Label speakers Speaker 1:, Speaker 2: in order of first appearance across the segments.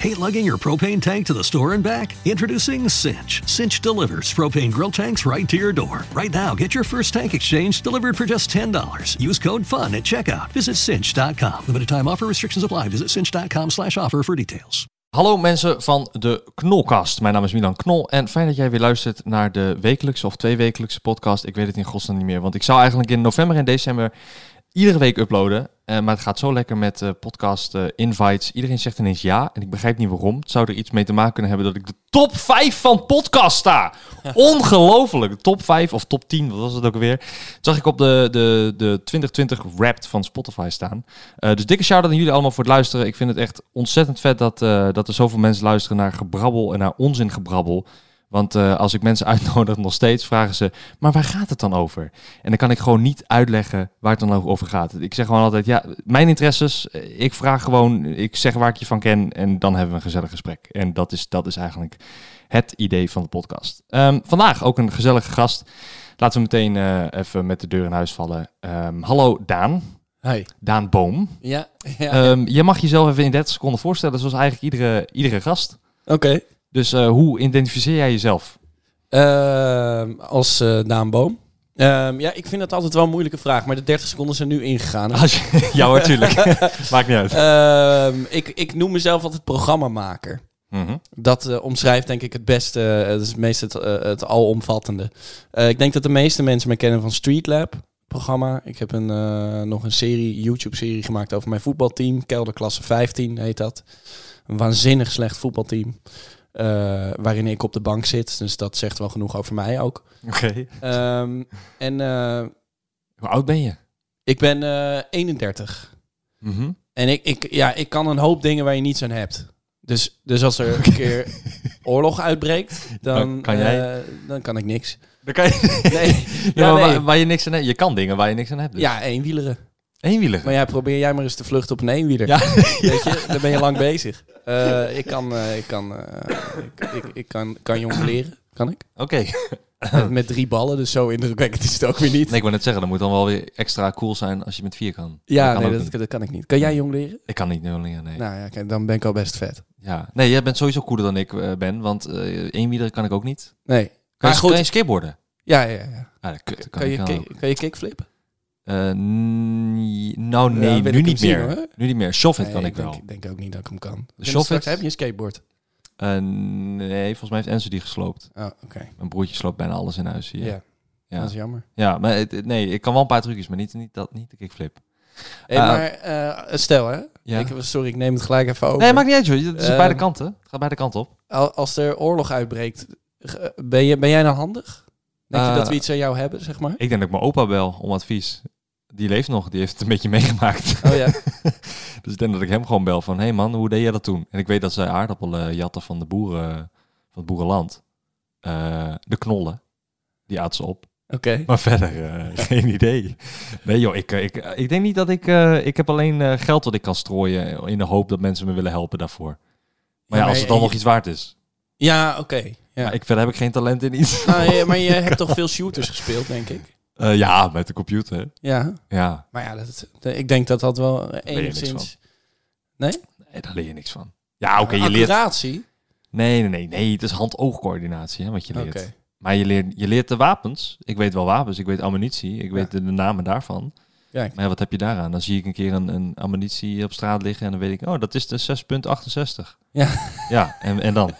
Speaker 1: Hate lugging your propane tank to the store and back? Introducing Cinch. Cinch delivers propane grill tanks right to your door. Right now, get your first tank exchange delivered for just $10. Use code FUN at checkout. Visit cinch.com. Limited time offer restrictions apply. Visit cinch.com slash offer for details.
Speaker 2: Hallo mensen van de Knolkast. Mijn naam is Milan Knol en fijn dat jij weer luistert naar de wekelijkse of tweewekelijkse podcast. Ik weet het in godsnaam niet meer, want ik zou eigenlijk in november en december iedere week uploaden. Eh, maar het gaat zo lekker met eh, podcast eh, invites. Iedereen zegt ineens ja en ik begrijp niet waarom. Het zou er iets mee te maken kunnen hebben dat ik de top 5 van podcast sta. Ongelooflijk. De top 5 of top 10, wat was het ook alweer? Dat zag ik op de, de, de 2020 Wrapped van Spotify staan. Eh, dus dikke shout-out aan jullie allemaal voor het luisteren. Ik vind het echt ontzettend vet dat, eh, dat er zoveel mensen luisteren naar gebrabbel en naar onzin gebrabbel. Want eh, als ik mensen uitnodig nog steeds, vragen ze, maar waar gaat het dan over? En dan kan ik gewoon niet uitleggen waar het dan over gaat. Ik zeg gewoon altijd, ja, mijn interesses, eh, ik vraag gewoon, ik zeg waar ik je van ken en dan hebben we een gezellig gesprek. En dat is, dat is eigenlijk het idee van de podcast. Ehm, vandaag ook een gezellige gast. Laten we meteen eh, even met de deur in huis vallen. Ehm, hallo Daan,
Speaker 3: Hi. Eh,
Speaker 2: Daan Boom.
Speaker 3: Ja. ja.
Speaker 2: Ehm, je mag jezelf even in 30 seconden voorstellen, zoals eigenlijk iedere, iedere gast.
Speaker 3: Oké.
Speaker 2: Dus eh, hoe identificeer jij jezelf?
Speaker 3: Ehm, als eh Daan Boom. Ehm, ja, ik vind dat altijd wel een moeilijke vraag, maar de 30 seconden zijn nu ingegaan.
Speaker 2: Als je, ja hoor, tuurlijk. Maakt niet uit.
Speaker 3: Ehm, ik, ik noem mezelf altijd programmamaker.
Speaker 2: Mhm.
Speaker 3: Dat eh, omschrijft denk ik het beste, eh, dat is het meest het, eh, het alomvattende. Eh, ik denk dat de meeste mensen mij kennen van Street Lab programma. Ik heb een, eh, nog een serie, YouTube-serie gemaakt over mijn voetbalteam. Kelderklasse 15 heet dat. Een waanzinnig slecht voetbalteam. eh, waarin ik op de bank zit. Dus dat zegt wel genoeg over mij ook.
Speaker 2: Oké.
Speaker 3: Ehm, en eh,
Speaker 2: Hoe oud ben je?
Speaker 3: ik ben eh, 31.
Speaker 2: Mhm.
Speaker 3: En ik, ik, ja, ik kan een hoop dingen waar je niets aan hebt. Dus, dus als er een keer oorlog uitbreekt, dan,
Speaker 2: Dan kan jij-
Speaker 3: eh, dan kan ik niks.
Speaker 2: Dan kan je...
Speaker 3: Nee,
Speaker 2: Ja,
Speaker 3: ja,
Speaker 2: maar
Speaker 3: nee.
Speaker 2: waar, waar je niks aan hebt. Je kan dingen waar je niks aan hebt. Dus.
Speaker 3: ja, eenwieleren.
Speaker 2: Eenwieliger.
Speaker 3: Maar ja, probeer jij maar eens te vluchten op een eenwieler.
Speaker 2: Ja.
Speaker 3: Weet je, dan ben je lang bezig. Eh, ik kan, eh, ik kan, eh, ik, ik, ik kan, kan jong leren. Kan ik?
Speaker 2: Oké.
Speaker 3: Met, met drie ballen, dus zo indrukwekkend is het ook weer niet.
Speaker 2: Nee, ik wil net zeggen, dat moet dan wel weer extra cool zijn als je met vier kan.
Speaker 3: ja,
Speaker 2: kan
Speaker 3: nee,
Speaker 2: ook
Speaker 3: dat,
Speaker 2: niet.
Speaker 3: dat kan ik niet. Kan jij jong leren?
Speaker 2: Ik kan niet nul leren, nee.
Speaker 3: Nou ja, kijk, dan ben ik al best vet.
Speaker 2: Ja. Nee, jij bent sowieso cooler dan ik eh, ben, want eh eenwieliger kan ik ook niet.
Speaker 3: Nee.
Speaker 2: Kan,
Speaker 3: Maar
Speaker 2: je,
Speaker 3: goed.
Speaker 2: kan je skateboarden?
Speaker 3: Ja, ja, ja.
Speaker 2: Ah, dat kut, dat kan,
Speaker 3: Kan, je,
Speaker 2: ik wel ook.
Speaker 3: kick, kan je kickflippen?
Speaker 2: Eh, n- nou,
Speaker 3: Ja,
Speaker 2: nee,
Speaker 3: wil ik
Speaker 2: nu
Speaker 3: hem
Speaker 2: niet
Speaker 3: zien,
Speaker 2: meer.
Speaker 3: hoor.
Speaker 2: Nu niet meer. Shovet
Speaker 3: Nee,
Speaker 2: kan ik
Speaker 3: denk,
Speaker 2: wel.
Speaker 3: denk ook niet dat ik hem kan. En
Speaker 2: shovel
Speaker 3: straks
Speaker 2: is-
Speaker 3: heb je een skateboard.
Speaker 2: Eh, nee, volgens mij heeft Enzo die gesloopt.
Speaker 3: Oh, oké.
Speaker 2: Mijn broertje sloopt bijna alles in huis hier.
Speaker 3: Ja.
Speaker 2: Ja, ja.
Speaker 3: dat is jammer.
Speaker 2: maar het- nee, ik kan wel een paar trucjes, maar niet, niet, dat, niet de kickflip.
Speaker 3: Hey,
Speaker 2: Eh,
Speaker 3: maar eh, stel hè.
Speaker 2: Ja.
Speaker 3: Ik, sorry, ik neem het gelijk even over.
Speaker 2: Nee, maakt niet uit, joh. Het is
Speaker 3: Ehm,
Speaker 2: beide kanten. Het gaat beide kanten op.
Speaker 3: Al- Als er oorlog uitbreekt, ge- ben, je, ben jij dan handig? Denk je
Speaker 2: Eh,
Speaker 3: dat we iets aan jou hebben, zeg maar?
Speaker 2: Ik denk dat ik mijn opa bel om advies. Die leeft nog, die heeft het een beetje meegemaakt.
Speaker 3: Oh ja.
Speaker 2: dus ik denk dat ik hem gewoon bel van... Hé hey man, hoe deed jij dat toen? En ik weet dat zij aardappelen eh, jatten van de boeren... Van het boerenland. Eh, de knollen. Die aten ze op.
Speaker 3: Oké.
Speaker 2: Maar verder, eh, geen idee. Nee joh, ik, eh, ik, eh, ik denk niet dat ik... eh, ik heb alleen eh, geld wat ik kan strooien... eh, in de hoop dat mensen me willen helpen daarvoor. Maar ja, als het dan nog iets waard is.
Speaker 3: Ja, oké. Ja.
Speaker 2: Maar ik, verder heb ik geen talent in iets.
Speaker 3: Ah, ja, maar je hebt toch veel shooters gespeeld, denk ik?
Speaker 2: Eh, ja, met de computer.
Speaker 3: Ja.
Speaker 2: Ja,
Speaker 3: Maar ja, dat, dat- ik denk dat dat wel
Speaker 2: je niks
Speaker 3: enigszins...
Speaker 2: nee, daar leer je niks van. Ja, oké, je leert
Speaker 3: Accuratie?
Speaker 2: Nee, nee, nee, nee. Het is hand-oogcoördinatie hè, wat je
Speaker 3: Oké.
Speaker 2: leert. Maar je leert, je leert de wapens. Ik weet wel wapens. Ik weet ammunitie. Ik weet de, de namen daarvan.
Speaker 3: Kijk.
Speaker 2: Maar ja, wat heb je daaraan? Dan zie ik een keer een, een ammunitie op straat liggen en dan weet ik, oh, dat is de 6.68.
Speaker 3: Ja.
Speaker 2: Ja, en, en dan?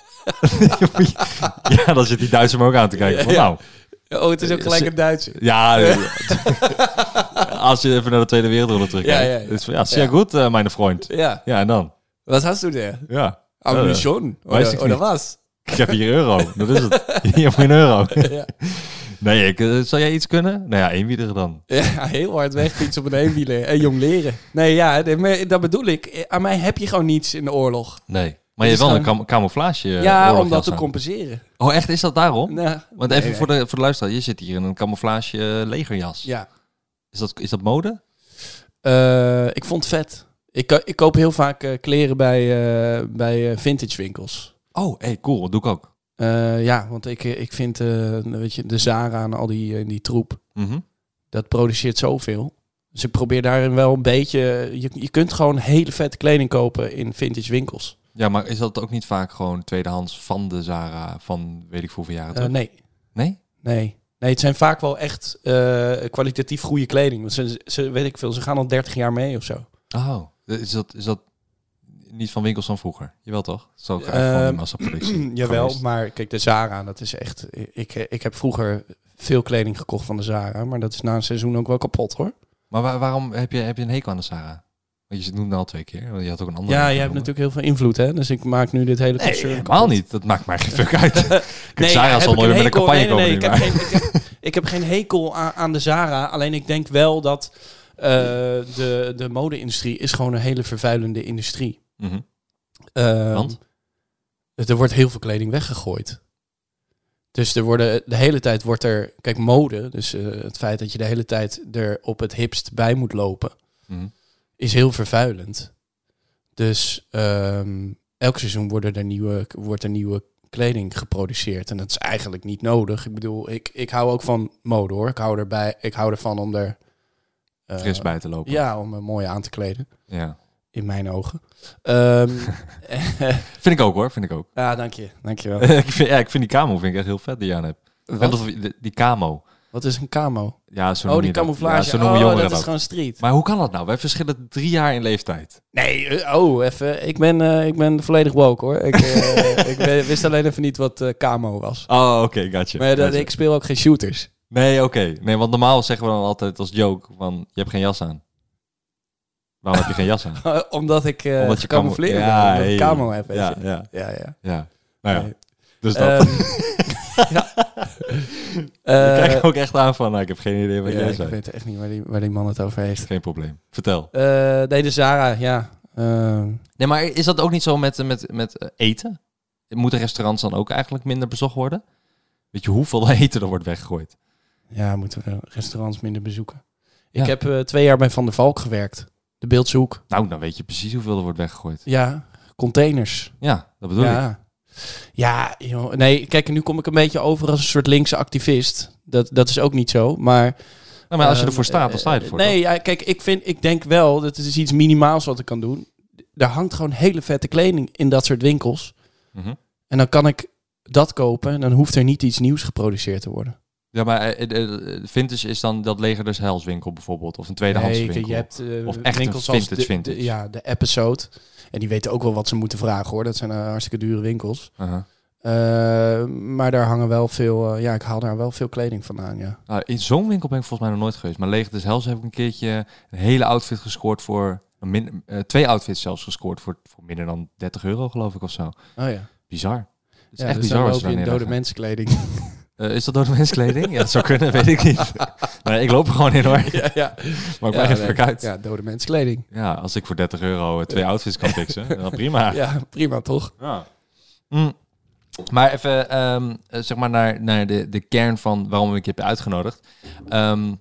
Speaker 2: ja, dan zit die Duitser me ook aan te kijken. Van,
Speaker 3: Ja.
Speaker 2: nou,
Speaker 3: Oh, het is ook gelijk een Duitser.
Speaker 2: ja. als je even naar de Tweede Wereldoorlog terugkijkt.
Speaker 3: Ja, ja, ja.
Speaker 2: is van, ja, zeer
Speaker 3: Ja.
Speaker 2: goed, eh, mijn vriend.
Speaker 3: Ja.
Speaker 2: Ja, en dan?
Speaker 3: Wat hast du daar?
Speaker 2: Oh, Ja. Eh,
Speaker 3: Ammunition?
Speaker 2: weiß
Speaker 3: Oder,
Speaker 2: ich
Speaker 3: oder
Speaker 2: nicht.
Speaker 3: was?
Speaker 2: ik heb hier euro. Dat is het. Hier heb je een euro.
Speaker 3: ja.
Speaker 2: Nee, ik, eh, zou jij iets kunnen? Nou ja, eenwieliger dan.
Speaker 3: ja, heel hard wegfietsen op een eenwieler. En jong leren. Nee, ja, nee, maar dat bedoel ik. Aan mij heb je gewoon niets in de oorlog.
Speaker 2: Nee. Maar je
Speaker 3: is
Speaker 2: hebt wel een
Speaker 3: gewoon-
Speaker 2: cam- camouflage. eh,
Speaker 3: ja, om
Speaker 2: oorlogjas
Speaker 3: dat te
Speaker 2: aan.
Speaker 3: compenseren.
Speaker 2: Oh, echt? Is dat daarom?
Speaker 3: Nou,
Speaker 2: Want
Speaker 3: nee,
Speaker 2: even
Speaker 3: nee.
Speaker 2: Voor, de, voor de luisteraar, je zit hier in een camouflage eh, legerjas.
Speaker 3: Ja.
Speaker 2: Is, dat, is dat mode?
Speaker 3: Eh, ik vond het vet. Ik, ko- ik koop heel vaak eh, kleren bij, eh, bij eh, vintage winkels.
Speaker 2: Oh, hey, cool. Dat doe ik ook.
Speaker 3: Eh, ja, want ik, ik vind eh, weet je, de Zara en al die, eh, die troep,
Speaker 2: Mhm.
Speaker 3: dat produceert zoveel. Dus eh, ik probeer daarin wel een beetje... Je, je kunt gewoon hele vette kleding kopen in vintage winkels.
Speaker 2: Ja, maar is dat ook niet vaak gewoon tweedehands van de Zara van weet ik hoeveel jaren
Speaker 3: Eh,
Speaker 2: terug?
Speaker 3: nee,
Speaker 2: Nee?
Speaker 3: nee. Nee, het zijn vaak wel echt eh, kwalitatief goede kleding. Want ze, ze, weet ik veel, ze gaan al 30 jaar mee of zo.
Speaker 2: Oh, is dat, is dat niet van winkels van vroeger? Jawel toch? Zo graag
Speaker 3: Ehm,
Speaker 2: van de massaproductie.
Speaker 3: Jawel,
Speaker 2: geweest.
Speaker 3: maar kijk, de Zara, dat is echt... Ik, ik heb vroeger veel kleding gekocht van de Zara, maar dat is na een seizoen ook wel kapot, hoor.
Speaker 2: Maar waar- waarom heb je, heb je een hekel aan de Zara? Want je noemde al twee keer. Want je had ook een andere.
Speaker 3: Ja,
Speaker 2: naam
Speaker 3: je hebt
Speaker 2: genoemd.
Speaker 3: natuurlijk heel veel invloed, hè? Dus ik maak nu dit hele
Speaker 2: Nee,
Speaker 3: concern
Speaker 2: helemaal
Speaker 3: kapot.
Speaker 2: niet. Dat maakt mij geen fuck uit. Kijk,
Speaker 3: Nee,
Speaker 2: Zara
Speaker 3: heb
Speaker 2: zal
Speaker 3: ik
Speaker 2: nooit meer met een
Speaker 3: hekel-
Speaker 2: campagne
Speaker 3: nee, nee, nee,
Speaker 2: komen. nu,
Speaker 3: ik, heb geen, ik, heb, ik heb geen hekel aan, aan de Zara. Alleen ik denk wel dat eh, de, de mode-industrie is gewoon een hele vervuilende industrie.
Speaker 2: maar- Mhm.
Speaker 3: Ehm,
Speaker 2: Want?
Speaker 3: Er wordt heel veel kleding weggegooid. Dus er worden, de hele tijd wordt er... Kijk, mode, dus eh, het feit dat je de hele tijd er op het hipst bij moet lopen...
Speaker 2: Mhm.
Speaker 3: is heel vervuilend. Dus ehm, elk seizoen worden er nieuwe, wordt er nieuwe kleding geproduceerd. En dat is eigenlijk niet nodig. Ik bedoel, ik, ik hou ook van mode hoor. Ik hou, erbij, ik hou ervan om er... eh,
Speaker 2: Fris bij te lopen.
Speaker 3: Ja, om me mooi aan te kleden.
Speaker 2: ja.
Speaker 3: In mijn ogen. Ehm,
Speaker 2: Vind ik ook hoor, vind ik ook.
Speaker 3: ja, dank je. Dank je wel.
Speaker 2: ik, vind, ja, ik vind die camo vind ik echt heel vet die je aan hebt. Net
Speaker 3: Wat,
Speaker 2: als die, die camo.
Speaker 3: wat is een camo?
Speaker 2: Ja, zo
Speaker 3: Oh,
Speaker 2: noem
Speaker 3: die
Speaker 2: je dat.
Speaker 3: camouflage.
Speaker 2: Ja, zo noemen
Speaker 3: oh,
Speaker 2: jongeren
Speaker 3: dat
Speaker 2: dat.
Speaker 3: is gewoon street.
Speaker 2: Maar hoe kan dat nou? Wij verschillen drie jaar in leeftijd.
Speaker 3: Nee, eh, oh, even. Ik ben, eh, ik ben volledig woke hoor. Ik, eh, ik we- wist alleen even niet wat eh, camo was.
Speaker 2: Oh, oké, gotcha.
Speaker 3: Maar dat-
Speaker 2: gotcha.
Speaker 3: ik speel ook geen shooters.
Speaker 2: Nee, oké. Nee, want normaal zeggen we dan altijd als joke van, je hebt geen jas aan. Waarom heb je geen jas aan?
Speaker 3: Omdat ik eh
Speaker 2: Omdat je camo-
Speaker 3: gecamoufleerd ben,
Speaker 2: Ja,
Speaker 3: omdat ik
Speaker 2: hey.
Speaker 3: camo heb. weet
Speaker 2: Ja,
Speaker 3: je.
Speaker 2: ja,
Speaker 3: ja, ja.
Speaker 2: ja. Nou ja,
Speaker 3: Nee.
Speaker 2: dus dat.
Speaker 3: Ehm, ja.
Speaker 2: ik
Speaker 3: Eh,
Speaker 2: krijg er ook echt aan van, nou, ik heb geen idee wat
Speaker 3: ja,
Speaker 2: jij
Speaker 3: ik
Speaker 2: zei.
Speaker 3: weet echt niet waar die, waar die man het over heeft.
Speaker 2: Geen probleem. Vertel.
Speaker 3: Eh, nee, de Zara, ja. Ehm,
Speaker 2: Nee, maar is dat ook niet zo met, eh, met, met eh, eten? Moeten restaurants dan ook eigenlijk minder bezocht worden? Weet je hoeveel eten er wordt weggegooid?
Speaker 3: ja, moeten we restaurants minder bezoeken.
Speaker 2: Ja.
Speaker 3: Ik heb eh, twee jaar bij Van der Valk gewerkt. De Beeldzoek.
Speaker 2: Nou, dan weet je precies hoeveel er wordt weggegooid.
Speaker 3: Ja, containers.
Speaker 2: Ja, dat bedoel ik.
Speaker 3: ja. Ja, joh. nee, kijk, nu kom ik een beetje over als een soort linkse activist. Dat, dat is ook niet zo, maar...
Speaker 2: Nou, maar als je
Speaker 3: Ehm,
Speaker 2: ervoor staat, dan sta je
Speaker 3: eh,
Speaker 2: ervoor.
Speaker 3: Nee, ja, kijk, ik, vind, ik denk wel, dat is iets minimaals wat ik kan doen. Er hangt gewoon hele vette kleding in dat soort winkels.
Speaker 2: toch? Mhm.
Speaker 3: En dan kan ik dat kopen en dan hoeft er niet iets nieuws geproduceerd te worden.
Speaker 2: Ja, maar eh, eh, eh, vintage is dan dat leger des Heils winkel bijvoorbeeld. Of een tweedehands
Speaker 3: Nee,
Speaker 2: winkel.
Speaker 3: je hebt eh,
Speaker 2: Of echt een
Speaker 3: winkels als
Speaker 2: vintage
Speaker 3: de- de,
Speaker 2: vintage.
Speaker 3: ja, de episode. En die weten ook wel wat ze moeten vragen hoor. Dat zijn eh, hartstikke dure winkels.
Speaker 2: Aha.
Speaker 3: Eh, maar daar hangen wel veel, eh, ja, ik haal daar wel veel kleding vandaan, ja.
Speaker 2: Nou, in zo'n winkel ben ik volgens mij nog nooit geweest. Maar leger des Heils heb ik een keertje een hele outfit gescoord voor... een Min, eh, twee outfits zelfs gescoord voor, voor minder dan 30 euro geloof ik of zo.
Speaker 3: Oh ja.
Speaker 2: Bizar. Het is
Speaker 3: ja,
Speaker 2: echt
Speaker 3: dus
Speaker 2: bizar
Speaker 3: dan
Speaker 2: wat
Speaker 3: loop
Speaker 2: ze daar
Speaker 3: je in dode
Speaker 2: neerleggen.
Speaker 3: mensenkleding.
Speaker 2: Eh, is dat dode menskleding? ja, dat zou kunnen, weet ik niet. Nee, ik loop er gewoon in hoor.
Speaker 3: ja, ja.
Speaker 2: Maar ik ben geen
Speaker 3: nee.
Speaker 2: fuck uit. Ja.
Speaker 3: Ja, dode mensenkleding.
Speaker 2: als ik voor 30 euro eh, twee outfits kan fixen, dan prima.
Speaker 3: Ja, prima toch?
Speaker 2: Ja. Mm. Maar even ehm, eh, zeg maar naar, naar de, de kern van waarom ik je heb uitgenodigd. Ehm,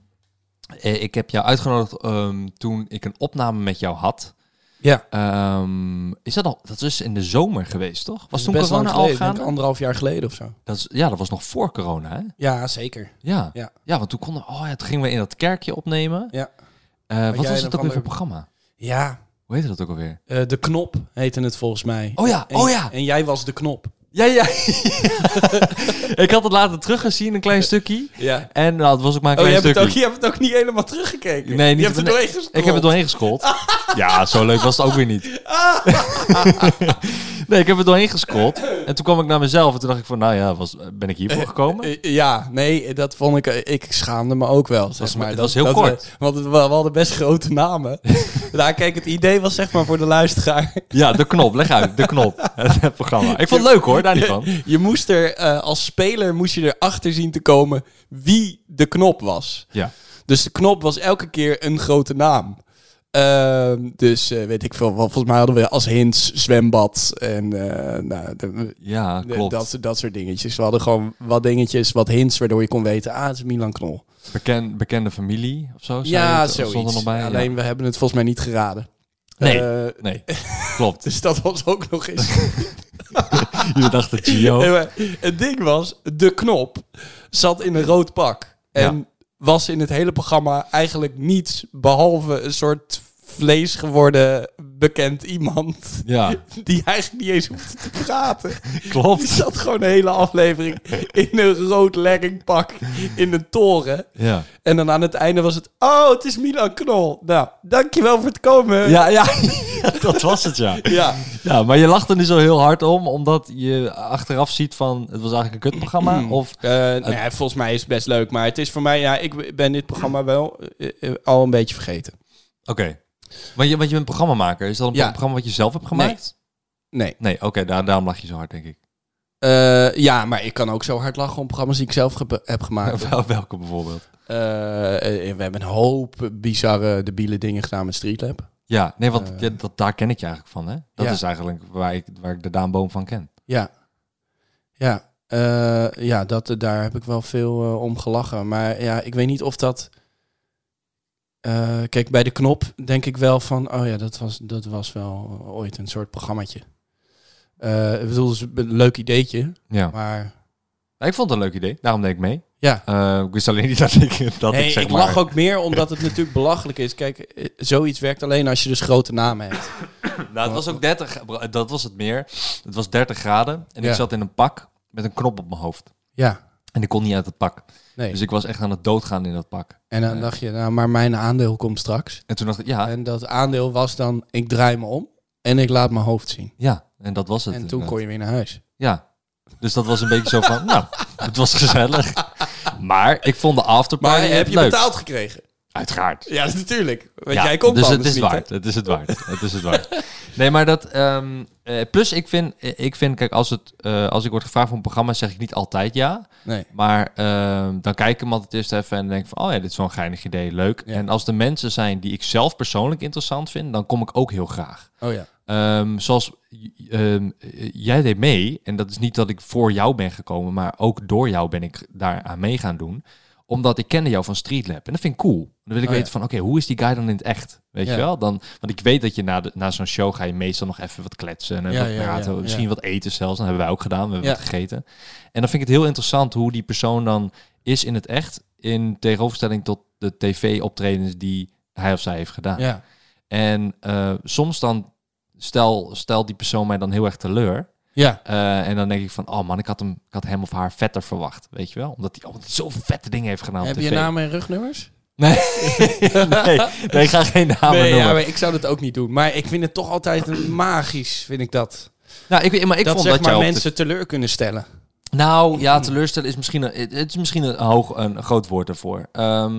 Speaker 2: eh, ik heb jou uitgenodigd ehm, toen ik een opname met jou had.
Speaker 3: Ja.
Speaker 2: Ehm, is dat al? Dat is dus in de zomer geweest, toch? Was toen
Speaker 3: Best lang
Speaker 2: corona al
Speaker 3: geleden, denk ik
Speaker 2: gaande?
Speaker 3: anderhalf jaar geleden of zo.
Speaker 2: Dat is, ja, dat was nog voor corona, hè?
Speaker 3: Ja, zeker.
Speaker 2: Ja.
Speaker 3: Ja.
Speaker 2: want toen konden... Oh ja, toen gingen we in dat kerkje opnemen.
Speaker 3: Ja.
Speaker 2: Eh,
Speaker 3: jij
Speaker 2: wat was
Speaker 3: een
Speaker 2: het
Speaker 3: of
Speaker 2: ook weer
Speaker 3: ander-
Speaker 2: voor programma?
Speaker 3: Ja,
Speaker 2: Hoe heette dat ook alweer?
Speaker 3: eh, de knop heette het volgens mij.
Speaker 2: Oh ja,
Speaker 3: En-
Speaker 2: oh ja.
Speaker 3: En jij was de knop.
Speaker 2: Ja, ja. ik had het later teruggezien, een klein stukje.
Speaker 3: Ja.
Speaker 2: En nou, het was ook maar een
Speaker 3: Oh, je
Speaker 2: klein
Speaker 3: hebt, het
Speaker 2: stukje.
Speaker 3: ook, je hebt het ook niet helemaal teruggekeken.
Speaker 2: Nee, niet
Speaker 3: je hebt
Speaker 2: op-
Speaker 3: er doorheen gescrollt.
Speaker 2: Ik heb het doorheen gescrollt. ja, zo leuk was het ook weer niet.
Speaker 3: Ah,
Speaker 2: nee, ik heb het doorheen gescrollt. En toen kwam ik naar mezelf en toen dacht ik van, nou ja, was, ben ik hiervoor gekomen?
Speaker 3: Eh, Ja, nee, dat vond ik... eh, Ik schaamde me ook wel, zeg
Speaker 2: was-
Speaker 3: maar.
Speaker 2: het
Speaker 3: Dat-
Speaker 2: was heel
Speaker 3: dat
Speaker 2: kort.
Speaker 3: we- want het- we, we hadden best grote namen. nou, kijk, het idee was zeg maar voor de luisteraar...
Speaker 2: Ja, de knop, leg uit, de knop. Het programma. Ik vond het leuk hoor, daar niet van.
Speaker 3: Je moest er eh, als speler moest je erachter zien te komen wie de knop was.
Speaker 2: Ja.
Speaker 3: Dus de knop was elke keer een grote naam. Ehm, dus eh, weet ik veel. wel, Volgens mij hadden we als hints zwembad en eh, nou, de-
Speaker 2: Ja,
Speaker 3: de-
Speaker 2: klopt.
Speaker 3: dat, dat soort dingetjes. We hadden gewoon wat dingetjes, wat hints, waardoor je kon weten, ah, het is Milan Knol.
Speaker 2: Beken, bekende familie of zo? zei je
Speaker 3: Ja,
Speaker 2: het, Stond er nog
Speaker 3: zoiets.
Speaker 2: bij? Ja.
Speaker 3: Alleen we hebben het volgens mij niet geraden.
Speaker 2: Nee,
Speaker 3: Eh,
Speaker 2: nee. Klopt.
Speaker 3: dus dat was ook nog eens
Speaker 2: Jullie dachten Gio.
Speaker 3: Nee, maar het ding was, de knop zat in een rood pak. En was in het hele programma eigenlijk niets behalve een soort vlees geworden bekend iemand.
Speaker 2: Ja,
Speaker 3: Die eigenlijk niet eens hoeft te praten. Die
Speaker 2: klopt.
Speaker 3: zat gewoon de hele aflevering in een rood leggingpak in een toren.
Speaker 2: Ja.
Speaker 3: En dan aan het einde was het... Oh, het is Milan Knol. Nou, dankjewel voor het komen.
Speaker 2: Ja, ja, dat was het, ja.
Speaker 3: Ja.
Speaker 2: ja. Maar je lacht er nu zo heel hard om, omdat je achteraf ziet van... Het was eigenlijk een kutprogramma, of...
Speaker 3: Eh, nee, volgens mij is het best leuk. Maar het is voor mij... Ja, ik ben dit programma wel eh, eh, al een beetje vergeten.
Speaker 2: Oké. Want, je, want je bent programmamaker. Is dat een
Speaker 3: Ja.
Speaker 2: programma wat je zelf hebt gemaakt?
Speaker 3: Nee.
Speaker 2: Nee, oké. daar, daarom lach je zo hard, denk ik.
Speaker 3: Eh, ja, maar ik kan ook zo hard lachen om programma's die ik zelf ge- heb gemaakt.
Speaker 2: Wel- Welke bijvoorbeeld?
Speaker 3: Eh, eh, we hebben een hoop bizarre, debiele dingen gedaan met Streetlab.
Speaker 2: Ja, nee, want
Speaker 3: Eh.
Speaker 2: ja, dat, daar ken ik je eigenlijk van, hè? Dat
Speaker 3: Ja.
Speaker 2: is eigenlijk waar ik, waar ik de Daan Boom van ken.
Speaker 3: Ja. Ja. Eh, ja, dat, daar heb ik wel veel eh, om gelachen. Maar ja, ik weet niet of dat... Eh, kijk, bij de knop denk ik wel van... Oh ja, dat was, dat was wel eh, ooit een soort programmaatje. Eh, ik bedoel, het is een leuk ideetje.
Speaker 2: Ja.
Speaker 3: Maar
Speaker 2: Nou, ik vond het een leuk idee. Daarom deed ik mee.
Speaker 3: ja,
Speaker 2: Eh, ik wist alleen niet dat ik... Dat
Speaker 3: Nee,
Speaker 2: ik
Speaker 3: ik,
Speaker 2: zeg maar...
Speaker 3: lach ook meer omdat het natuurlijk belachelijk is. Kijk, eh, zoiets werkt alleen als je dus grote namen hebt.
Speaker 2: Nou, het was ook 30, bro, dat was het meer. Het was 30 graden en
Speaker 3: Ja.
Speaker 2: ik zat in een pak met een knop op mijn hoofd.
Speaker 3: Ja,
Speaker 2: En ik kon niet uit het pak.
Speaker 3: nee.
Speaker 2: Dus ik was echt aan het doodgaan in dat pak.
Speaker 3: en dan dacht je, nou, maar mijn aandeel komt straks.
Speaker 2: En toen dacht ik, ja,
Speaker 3: En dat aandeel was dan, ik draai me om en ik laat mijn hoofd zien.
Speaker 2: ja. En dat was het.
Speaker 3: En toen
Speaker 2: inderdaad.
Speaker 3: kon je weer naar huis.
Speaker 2: Ja. Dus dat was een beetje zo van, nou, het was gezellig. Maar ik vond de afterparty
Speaker 3: Maar heb
Speaker 2: het
Speaker 3: je
Speaker 2: leuk.
Speaker 3: betaald gekregen?
Speaker 2: Uiteraard.
Speaker 3: Ja, natuurlijk. Want
Speaker 2: Ja,
Speaker 3: jij komt
Speaker 2: dus het
Speaker 3: anders
Speaker 2: is
Speaker 3: niet, hè?
Speaker 2: waard. Het is het waard. Het is het waard. Nee, maar dat. ehm, eh, plus, ik vind, ik vind, kijk, als, het, eh, als ik word gevraagd voor een programma, zeg ik niet altijd ja.
Speaker 3: Nee.
Speaker 2: Maar ehm, dan kijk ik hem altijd eerst even en denk van, oh ja, dit is wel een geinig idee, leuk.
Speaker 3: Ja.
Speaker 2: En als de mensen zijn die ik zelf persoonlijk interessant vind, dan kom ik ook heel graag.
Speaker 3: Oh ja.
Speaker 2: Ehm, zoals ehm, jij deed mee, en dat is niet dat ik voor jou ben gekomen, maar ook door jou ben ik daar aan mee gaan doen. Omdat ik kende jou van Streetlab en dat vind ik cool. Dan wil ik
Speaker 3: Oh ja.
Speaker 2: weten van, oké, hoe is die guy dan in het echt? Weet
Speaker 3: Ja.
Speaker 2: je wel? Dan, want ik weet dat je na, de- na zo'n show ga je meestal nog even wat kletsen en
Speaker 3: Ja,
Speaker 2: wat
Speaker 3: ja,
Speaker 2: praten.
Speaker 3: ja,
Speaker 2: misschien
Speaker 3: ja.
Speaker 2: wat eten zelfs. Dat hebben wij ook gedaan, we hebben
Speaker 3: Ja.
Speaker 2: wat gegeten. En dan vind ik het heel interessant hoe die persoon dan is in het echt. In tegenopstelling tot de tv-optredens die hij of zij heeft gedaan.
Speaker 3: Ja.
Speaker 2: En eh, soms dan stel, stel die persoon mij dan heel erg teleur.
Speaker 3: Ja.
Speaker 2: Eh, en dan denk ik van, oh man, ik had, hem, ik had hem of haar vetter verwacht. Weet je wel? Omdat hij oh, zoveel vette dingen heeft gedaan. Nou, op
Speaker 3: heb je
Speaker 2: tv.
Speaker 3: namen en rugnummers?
Speaker 2: Nee, nee, nee, ik ga geen namen
Speaker 3: nee, ja,
Speaker 2: noemen.
Speaker 3: maar ik zou dat ook niet doen. Maar ik vind het toch altijd een- magisch, vind ik dat.
Speaker 2: nou, ik, maar ik
Speaker 3: dat
Speaker 2: vond
Speaker 3: zeg
Speaker 2: dat jij
Speaker 3: maar
Speaker 2: op de-
Speaker 3: mensen teleur kunnen stellen.
Speaker 2: Nou ja, teleurstellen is misschien een, het het is misschien een, hoog, een groot woord ervoor. Ehm,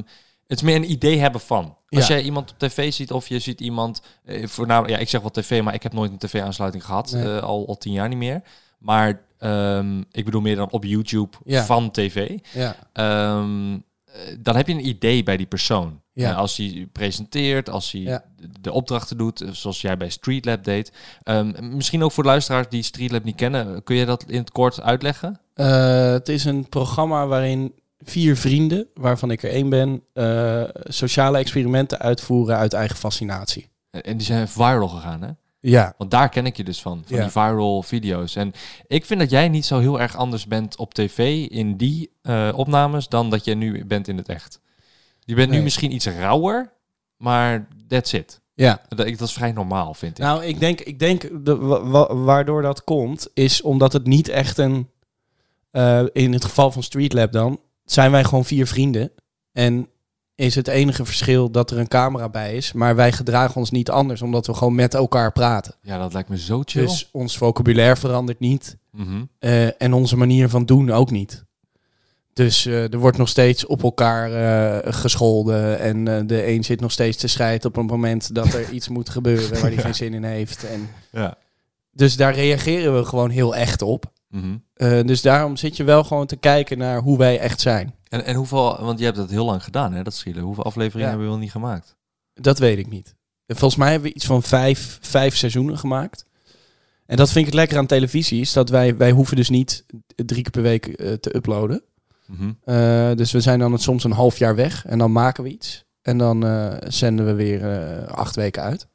Speaker 2: het is meer een idee hebben van. Als
Speaker 3: Ja.
Speaker 2: jij iemand op tv ziet of je ziet iemand, eh, voornamelijk, ja, ik zeg wel tv, maar ik heb nooit een tv-aansluiting gehad,
Speaker 3: Nee.
Speaker 2: eh, al, al tien jaar niet meer. Maar ehm, ik bedoel meer dan op YouTube
Speaker 3: Ja.
Speaker 2: van tv.
Speaker 3: Ja.
Speaker 2: Ehm, eh, dan heb je een idee bij die persoon.
Speaker 3: Ja.
Speaker 2: Eh, als hij presenteert, als hij
Speaker 3: Ja.
Speaker 2: de- de opdrachten doet, eh, zoals jij bij Streetlab deed. Ehm, misschien ook voor de luisteraars die Streetlab niet kennen, kun je dat in het kort uitleggen?
Speaker 3: Eh, het is een programma waarin vier vrienden, waarvan ik er één ben, eh, sociale experimenten uitvoeren uit eigen fascinatie.
Speaker 2: En die zijn viral gegaan, hè?
Speaker 3: Ja.
Speaker 2: Want daar ken ik je dus van, van
Speaker 3: Ja.
Speaker 2: die viral video's. En ik vind dat jij niet zo heel erg anders bent op tv in die eh, opnames dan dat jij nu bent in het echt. Je bent
Speaker 3: Nee.
Speaker 2: nu misschien iets rauwer, maar that's it.
Speaker 3: Ja.
Speaker 2: Dat, ik- dat is vrij normaal, vind ik.
Speaker 3: Nou, ik denk, ik denk de, wa- wa- waardoor dat komt, is omdat het niet echt een. eh, in het geval van Streetlab dan, zijn wij gewoon vier vrienden. En is het enige verschil dat er een camera bij is, maar wij gedragen ons niet anders, omdat we gewoon met elkaar praten.
Speaker 2: ja, dat lijkt me zo chill.
Speaker 3: Dus ons vocabulaire verandert niet.
Speaker 2: Mhm.
Speaker 3: Eh, en onze manier van doen ook niet. Dus eh, er wordt nog steeds op elkaar eh, gescholden. En eh, de een zit nog steeds te schijten op het moment dat er iets moet gebeuren waar hij geen zin in heeft. En
Speaker 2: Ja.
Speaker 3: dus daar reageren we gewoon heel echt op.
Speaker 2: Mhm.
Speaker 3: Eh, dus daarom zit je wel gewoon te kijken naar hoe wij echt zijn.
Speaker 2: En, en hoeveel, want je hebt dat heel lang gedaan, hè, dat schillen. Hoeveel afleveringen
Speaker 3: Ja.
Speaker 2: hebben we wel niet gemaakt?
Speaker 3: Dat weet ik niet. Volgens mij hebben we iets van vijf, vijf seizoenen gemaakt. En dat vind ik het lekker aan televisie, is dat wij, wij hoeven dus niet drie keer per week eh, te uploaden.
Speaker 2: Mhm.
Speaker 3: Eh, dus we zijn dan het soms een half jaar weg en dan maken we iets. En dan eh, zenden we weer eh, acht weken uit.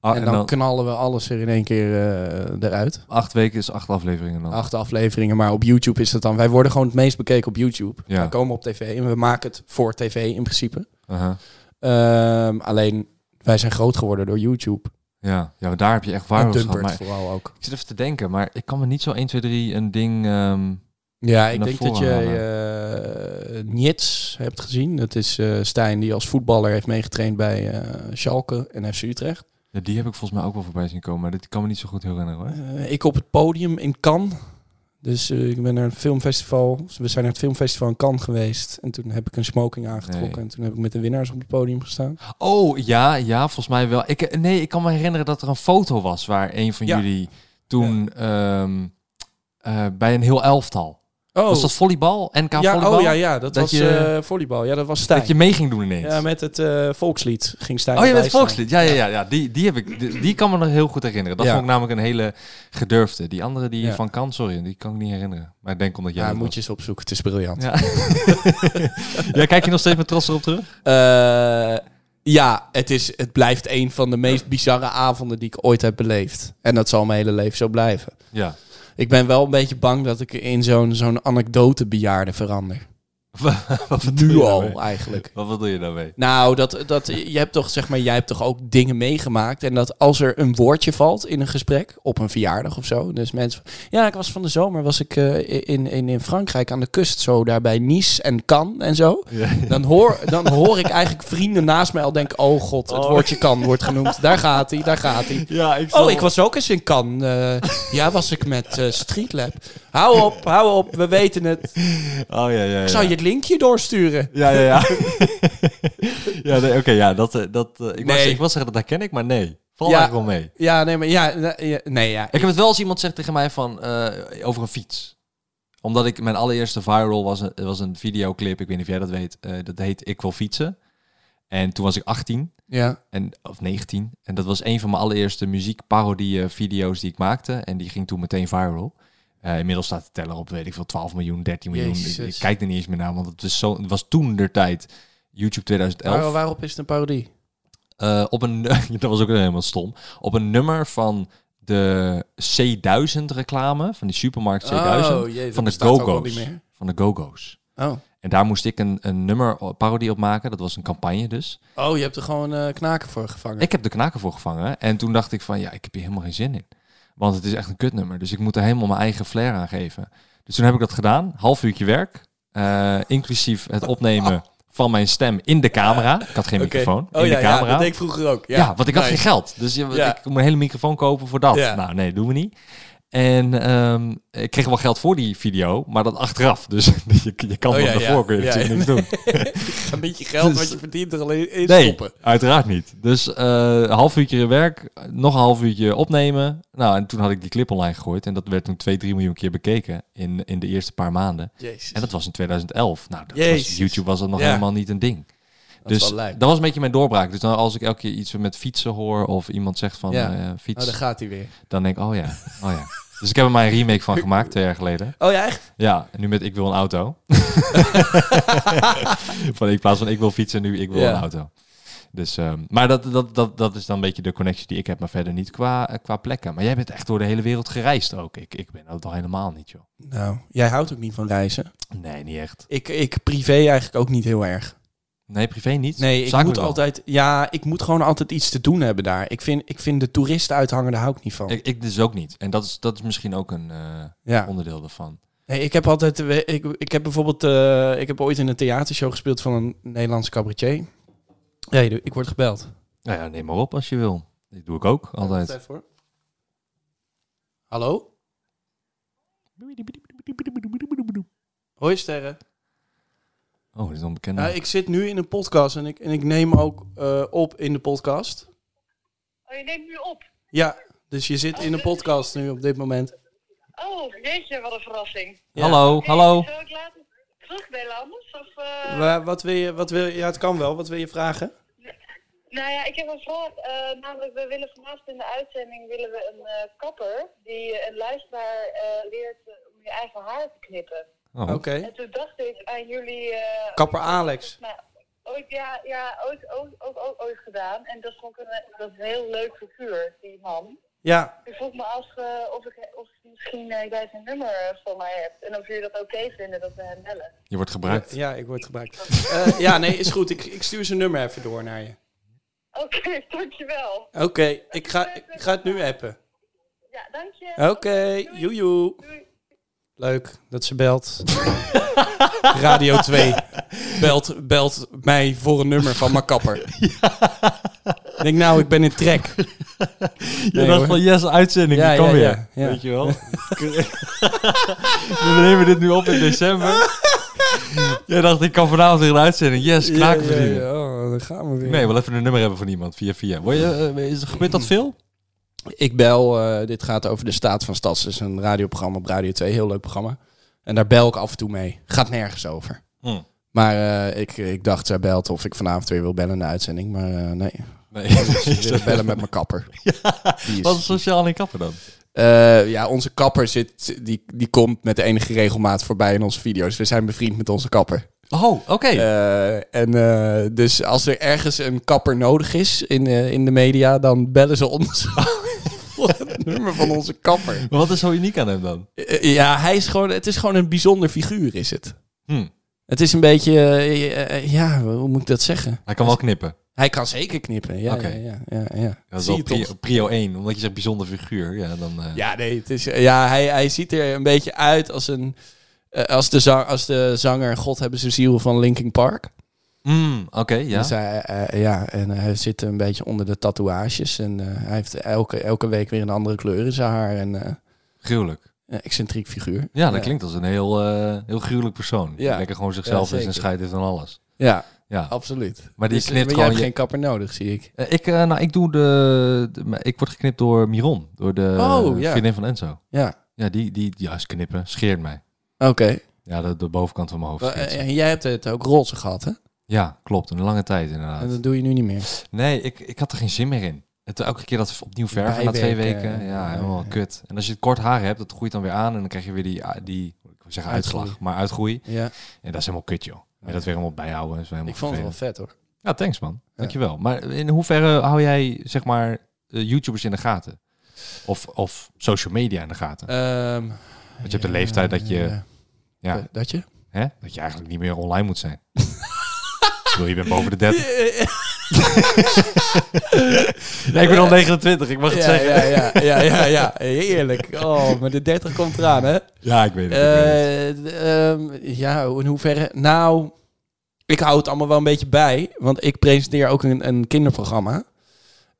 Speaker 2: Ah,
Speaker 3: en, dan, knallen we alles er in één keer eh, eruit.
Speaker 2: acht weken is acht afleveringen dan.
Speaker 3: Acht afleveringen, maar op YouTube is dat dan. Wij worden gewoon het meest bekeken op YouTube.
Speaker 2: Ja.
Speaker 3: We komen op tv en we maken het voor tv in principe.
Speaker 2: Aha.
Speaker 3: Ehm, alleen Wij zijn groot geworden door YouTube.
Speaker 2: Ja, ja, maar daar heb je echt
Speaker 3: en
Speaker 2: waarheid gehad.
Speaker 3: Dumpert
Speaker 2: Maar
Speaker 3: vooral ook.
Speaker 2: ik zit even te denken, maar ik kan me niet zo 1, 2, 3 een ding... ehm,
Speaker 3: Ja, ik
Speaker 2: naar
Speaker 3: denk dat
Speaker 2: voren
Speaker 3: je eh Niets hebt gezien. Dat is eh, Stijn die als voetballer heeft meegetraind bij eh Schalke en FC Utrecht.
Speaker 2: ja, die heb ik volgens mij ook wel voorbij zien komen, maar dit kan me niet zo goed herinneren hoor.
Speaker 3: Eh, ik op het podium in Cannes. Dus eh, ik ben naar een filmfestival. We zijn naar het filmfestival in Cannes geweest. En toen heb ik een smoking aangetrokken.
Speaker 2: Nee.
Speaker 3: En toen heb ik met de winnaars op het podium gestaan.
Speaker 2: Oh, ja, ja, volgens mij wel. Ik, eh, nee, ik kan me herinneren dat er een foto was waar een van
Speaker 3: Ja.
Speaker 2: jullie toen ehm, eh, bij een heel elftal...
Speaker 3: Oh,
Speaker 2: Was dat volleybal? NK
Speaker 3: ja,
Speaker 2: volleybal?
Speaker 3: oh ja, ja, dat,
Speaker 2: Dat
Speaker 3: was
Speaker 2: je-
Speaker 3: eh, volleybal. Ja, dat was Stijn.
Speaker 2: Dat je mee ging doen ineens.
Speaker 3: Ja, met het eh, volkslied ging Stijn
Speaker 2: oh, je
Speaker 3: erbij
Speaker 2: bent
Speaker 3: staan.
Speaker 2: volkslied. Ja, ja, ja, ja. Die, die, heb ik, die, die kan me nog heel goed herinneren. Dat
Speaker 3: Ja.
Speaker 2: vond ik namelijk een hele gedurfde. Die andere die
Speaker 3: Ja.
Speaker 2: van kan, sorry, die kan ik niet herinneren. Maar ik denk omdat jij
Speaker 3: Ja,
Speaker 2: dat
Speaker 3: moet
Speaker 2: was.
Speaker 3: je eens opzoeken. Het is briljant.
Speaker 2: Ja. ja, kijk je nog steeds met trots erop terug?
Speaker 3: Eh, ja, het, is, het blijft een van de meest bizarre avonden die ik ooit heb beleefd. En dat zal mijn hele leven zo blijven.
Speaker 2: Ja.
Speaker 3: Ik ben wel een beetje bang dat ik in zo'n zo'n anekdotebejaarde verander.
Speaker 2: Wat bedoel
Speaker 3: Nu
Speaker 2: je nou
Speaker 3: al,
Speaker 2: daarmee?
Speaker 3: eigenlijk.
Speaker 2: Wat bedoel je daarmee?
Speaker 3: Nou, dat, dat, je hebt toch, zeg maar, jij hebt toch ook dingen meegemaakt. En dat als er een woordje valt in een gesprek, op een verjaardag of zo. Dus mensen. Ja, ik was van de zomer was ik eh, in, in, in Frankrijk aan de kust, zo daar bij Nice en Cannes en zo. Dan, hoor, dan hoor ik eigenlijk vrienden naast mij al denken: oh god, het
Speaker 2: Oh.
Speaker 3: woordje kan wordt genoemd. Daar gaat hij, daar gaat hij.
Speaker 2: Ja, ik
Speaker 3: Oh, ik was ook eens in Cannes. Eh, ja, was ik met eh Streetlab. Hou op, hou op, we weten het.
Speaker 2: Oh, ja, ja, ja.
Speaker 3: Ik zal je het linkje doorsturen.
Speaker 2: Ja, ja, ja. ja, nee, oké, ja, dat... eh, dat eh, ik, was,
Speaker 3: Nee.
Speaker 2: ik was zeggen, dat herken ik, maar nee. Val
Speaker 3: Ja.
Speaker 2: eigenlijk wel mee.
Speaker 3: Ja, nee, maar ja, na- ja, nee, ja.
Speaker 2: Ik heb het wel eens iemand zegt tegen mij van eh, over een fiets. Omdat ik mijn allereerste viral was een, was een videoclip. Ik weet niet of jij dat weet. eh, dat heet Ik wil fietsen. En toen was ik 18
Speaker 3: ja.
Speaker 2: en, of 19. En dat was een van mijn allereerste muziekparodie video's die ik maakte. En die ging toen meteen viral. Eh, inmiddels staat de teller op, weet ik veel, 12 miljoen, 13 miljoen. Ik,
Speaker 3: Jezus.
Speaker 2: ik kijk er niet eens meer naar, want het was, zo, het was toen der tijd. YouTube 2011.
Speaker 3: Waar- waarop is het een parodie?
Speaker 2: Eh, op een, dat was ook helemaal stom. Op een nummer van de C1000 reclame, van die supermarkt C1000,
Speaker 3: Oh, jee,
Speaker 2: van de Go-Go's. Van de Go-Go's.
Speaker 3: Oh.
Speaker 2: En daar moest ik een, een nummer eh, parodie op maken. Dat was een campagne dus.
Speaker 3: oh, je hebt er gewoon eh, knaken voor gevangen.
Speaker 2: Ik heb de knaken voor gevangen. En toen dacht ik van, ja, ik heb hier helemaal geen zin in. Want het is echt een kutnummer. Dus ik moet er helemaal mijn eigen flair aan geven. Dus toen heb ik dat gedaan. Half uurtje werk. eh, inclusief het opnemen van mijn stem in de camera. Ik had geen
Speaker 3: Oké.
Speaker 2: microfoon.
Speaker 3: Oh
Speaker 2: in
Speaker 3: ja,
Speaker 2: de
Speaker 3: ja,
Speaker 2: camera.
Speaker 3: dat deed ik vroeger ook. Ja,
Speaker 2: Ja, want ik had
Speaker 3: nice.
Speaker 2: geen geld. Dus je-
Speaker 3: Ja.
Speaker 2: ik moet een hele microfoon kopen voor dat.
Speaker 3: Ja.
Speaker 2: Nou, nee, doen we niet. En ehm, ik kreeg wel geld voor die video, maar dat achteraf. Dus je, je kan
Speaker 3: Oh,
Speaker 2: wat
Speaker 3: ja,
Speaker 2: ervoor,
Speaker 3: ja.
Speaker 2: kun je
Speaker 3: Ja,
Speaker 2: natuurlijk
Speaker 3: ja.
Speaker 2: niks doen.
Speaker 3: Een beetje geld
Speaker 2: Dus-
Speaker 3: wat je verdient er alleen in
Speaker 2: Nee,
Speaker 3: stoppen.
Speaker 2: uiteraard niet. Dus eh, een half uurtje in werk, nog een half uurtje opnemen. Nou, en toen had ik die clip online gegooid. En dat werd toen 2, 3 miljoen keer bekeken in, in de eerste paar maanden.
Speaker 3: Jezus.
Speaker 2: En dat was in 2011. Nou, dat was,
Speaker 3: Jezus.
Speaker 2: YouTube was dat nog
Speaker 3: Ja.
Speaker 2: helemaal niet een ding.
Speaker 3: is
Speaker 2: dus
Speaker 3: wel lijp.
Speaker 2: dat was een beetje mijn doorbraak. Dus dan als ik elke keer iets met fietsen hoor of iemand zegt van
Speaker 3: Ja.
Speaker 2: eh, fiets,
Speaker 3: Oh, daar gaat hij weer.
Speaker 2: dan denk ik, oh ja, oh ja. Dus ik heb er maar een remake van gemaakt twee jaar geleden.
Speaker 3: Oh ja, echt?
Speaker 2: Ja, en nu met Ik wil een auto. van in plaats van Ik wil fietsen, nu Ik wil
Speaker 3: Ja.
Speaker 2: een auto. Dus, ehm, maar dat, dat, dat, dat is dan een beetje de connectie die ik heb, maar verder niet qua, eh, qua plekken. Maar jij bent echt door de hele wereld gereisd ook. Ik, ik ben dat al helemaal niet, joh.
Speaker 3: Nou, jij houdt ook niet van reizen.
Speaker 2: Nee, niet echt.
Speaker 3: Ik, ik privé eigenlijk ook niet heel erg.
Speaker 2: Nee, privé niet.
Speaker 3: Nee, ik
Speaker 2: Zakelijk
Speaker 3: moet
Speaker 2: wel.
Speaker 3: altijd... Ja, ik moet gewoon altijd iets te doen hebben daar. Ik vind, ik vind de toeristen uithangen, daar hou ik niet van.
Speaker 2: Ik, ik dus ook niet. En dat is, dat is misschien ook een eh,
Speaker 3: ja.
Speaker 2: onderdeel daarvan.
Speaker 3: Nee, ik heb altijd. we- Ik, ik heb bijvoorbeeld. eh, ik heb ooit in een theatershow gespeeld van een Nederlands cabaretier. Nee, du- ik word gebeld.
Speaker 2: Nou ja, neem maar op als je wil. Dat doe ik ook altijd.
Speaker 3: Wacht even hoor. Hallo? Hoi Sterren.
Speaker 2: Oh, dit is onbekend.
Speaker 3: Ja, ik zit nu in een podcast en ik, en ik neem ook eh, op in de podcast.
Speaker 4: Oh, je neemt nu op.
Speaker 3: Ja, dus je zit in een podcast nu op dit moment.
Speaker 4: Oh, jeetje, wat een verrassing.
Speaker 3: Ja.
Speaker 2: Hallo, hallo.
Speaker 4: Hey, zal ik later terugbellen anders? Of, eh,
Speaker 3: Wa- wat wil je, wat wil je, ja het kan wel, wat wil je vragen?
Speaker 4: nou ja, ik heb een vraag. eh, namelijk, we willen vanavond in de uitzending willen we een eh, kapper die eh, een luisteraar eh, leert eh, om je eigen haar te knippen.
Speaker 2: Oh.
Speaker 3: Oké.
Speaker 4: En toen dacht ik aan jullie... eh,
Speaker 3: Kapper Alex.
Speaker 4: Nou, ooit, ja, ja ooit, ooit, ook, ook ooit gedaan. En dat vond ik een, eh, dat is een heel leuk figuur, die man.
Speaker 3: Ja,
Speaker 4: Ik vroeg me af eh, of, ik, of misschien eh, jij zijn nummer eh, van mij hebt. En of jullie dat oké vinden dat we hem bellen.
Speaker 2: Je wordt gebruikt.
Speaker 3: ja, ik word gebruikt. Eh, ja, nee, is goed. Ik, ik stuur zijn nummer even door naar je.
Speaker 4: Oké, dankjewel.
Speaker 3: Oké, ik, ga, ik ga het nu appen.
Speaker 4: Ja, dank je.
Speaker 3: Oké,
Speaker 4: doei.
Speaker 3: joejoe.
Speaker 4: Doei.
Speaker 3: Leuk dat ze belt. Radio 2 belt, belt mij voor een nummer van mijn kapper. Ik denk nou, ik ben in trek.
Speaker 2: Je
Speaker 3: Nee,
Speaker 2: dacht
Speaker 3: hoor.
Speaker 2: van, yes, uitzending,
Speaker 3: Ja,
Speaker 2: die kan
Speaker 3: ja,
Speaker 2: weer.
Speaker 3: ja, ja.
Speaker 2: Weet je wel? we nemen dit nu op in december. Jij dacht, ik kan vanavond weer een uitzending. Yes, knaken verdienen.
Speaker 3: Oh, daar gaan we weer.
Speaker 2: Nee, wel even een nummer hebben van iemand, via via. Word je, eh, is, gebeurt
Speaker 3: Mm.
Speaker 2: dat veel?
Speaker 3: Ik bel, eh, dit gaat over de staat van stads. Het is een radioprogramma op Radio 2, heel leuk programma. En daar bel ik af en toe mee. Gaat nergens over.
Speaker 2: Hm.
Speaker 3: Maar eh, ik, ik dacht, zij belt of ik vanavond weer wil bellen in de uitzending. Maar eh, nee,
Speaker 2: Nee.
Speaker 3: ze willen bellen met mijn kapper. Die is-
Speaker 2: Wat is sociaal in kappen dan?
Speaker 3: Eh, ja, onze kapper zit, die, die komt met de enige regelmaat voorbij in onze video's. We zijn bevriend met onze kapper.
Speaker 2: Oh, oké.
Speaker 3: Eh, en eh, dus als er ergens een kapper nodig is in, eh, in de media, dan bellen ze ons. voor het nummer van onze kapper.
Speaker 2: Maar wat is zo uniek aan hem dan?
Speaker 3: Eh, Ja, hij is gewoon, het is gewoon een bijzonder figuur, is het.
Speaker 2: Hm.
Speaker 3: Het is een beetje, eh, eh, ja, hoe moet ik dat zeggen?
Speaker 2: Hij kan wel knippen.
Speaker 3: Hij kan zeker knippen, ja,
Speaker 2: Oké.
Speaker 3: ja, ja, ja, ja.
Speaker 2: Dat is
Speaker 3: Zie
Speaker 2: wel
Speaker 3: je
Speaker 2: prio,
Speaker 3: toch?
Speaker 2: prio 1, omdat je zegt bijzonder figuur. Ja, dan, eh,
Speaker 3: Ja, nee, het is, ja hij, hij ziet er een beetje uit als, een, eh, als, de, zang, als de zanger God hebben ze ziel van Linkin Park.
Speaker 2: Mm, oké, ja.
Speaker 3: Dus hij, eh, ja, en hij zit een beetje onder de tatoeages. En eh, hij heeft elke, elke week weer een andere kleur in zijn haar. En eh,
Speaker 2: Gruwelijk.
Speaker 3: een excentriek figuur.
Speaker 2: Ja, dat klinkt als een heel, eh, heel gruwelijk persoon. Die
Speaker 3: Ja.
Speaker 2: lekker gewoon zichzelf
Speaker 3: Ja,
Speaker 2: is en
Speaker 3: zeker.
Speaker 2: scheidt is aan alles.
Speaker 3: Ja,
Speaker 2: Ja.
Speaker 3: absoluut. Dus, eh,
Speaker 2: Maar die knipt
Speaker 3: maar
Speaker 2: gewoon
Speaker 3: jij hebt
Speaker 2: je-
Speaker 3: geen kapper nodig, zie ik.
Speaker 2: Eh, ik, eh, nou, ik, doe de, de- maar ik word geknipt door Miron, door de
Speaker 3: Oh,
Speaker 2: eh,
Speaker 3: ja.
Speaker 2: vriendin van Enzo.
Speaker 3: Ja,
Speaker 2: Ja, die, die juist knippen, scheert mij.
Speaker 3: oké.
Speaker 2: Ja, de, de bovenkant van mijn hoofd.
Speaker 3: Wel,
Speaker 2: scheert ze.
Speaker 3: eh, En jij hebt het ook roze gehad, hè?
Speaker 2: Ja, klopt. Een lange tijd
Speaker 3: En
Speaker 2: inderdaad.
Speaker 3: dat doe je nu niet meer.
Speaker 2: Nee, ik, ik had er geen zin meer in. Het, elke keer dat opnieuw verven na twee
Speaker 3: Bijwerken,
Speaker 2: weken.
Speaker 3: eh,
Speaker 2: Ja,
Speaker 3: eh,
Speaker 2: helemaal
Speaker 3: eh.
Speaker 2: kut. En als je kort haar hebt, dat groeit dan weer aan. En dan krijg je weer die, ah, die ik wil zeggen uitslag,
Speaker 3: Uitgroei.
Speaker 2: maar uitgroei.
Speaker 3: Ja,
Speaker 2: En dat is helemaal kut, joh. En dat weer helemaal bijhouden. Is helemaal
Speaker 3: ik vond het wel
Speaker 2: vervelend.
Speaker 3: vet hoor.
Speaker 2: Ja, thanks man. Dankjewel. Maar in hoeverre hou jij, zeg maar, eh, YouTubers in de gaten? Of, of social media in de gaten?
Speaker 3: Ehm,
Speaker 2: Want je hebt de leeftijd dat je,
Speaker 3: ja.
Speaker 2: ja,
Speaker 3: Eh, Dat je?
Speaker 2: hè, dat je eigenlijk niet meer online moet zijn. Ik bedoel, je bent boven de 30. Nee, ik ben al 29, ik mag het
Speaker 3: Ja,
Speaker 2: zeggen.
Speaker 3: ja, ja, ja, ja, ja, heerlijk. Oh, maar de 30 komt eraan, hè?
Speaker 2: Ja, ik weet het. ik weet het.
Speaker 3: Eh, d- ehm, ja, in hoeverre? Nou, ik hou het allemaal wel een beetje bij, want ik presenteer ook een, een kinderprogramma.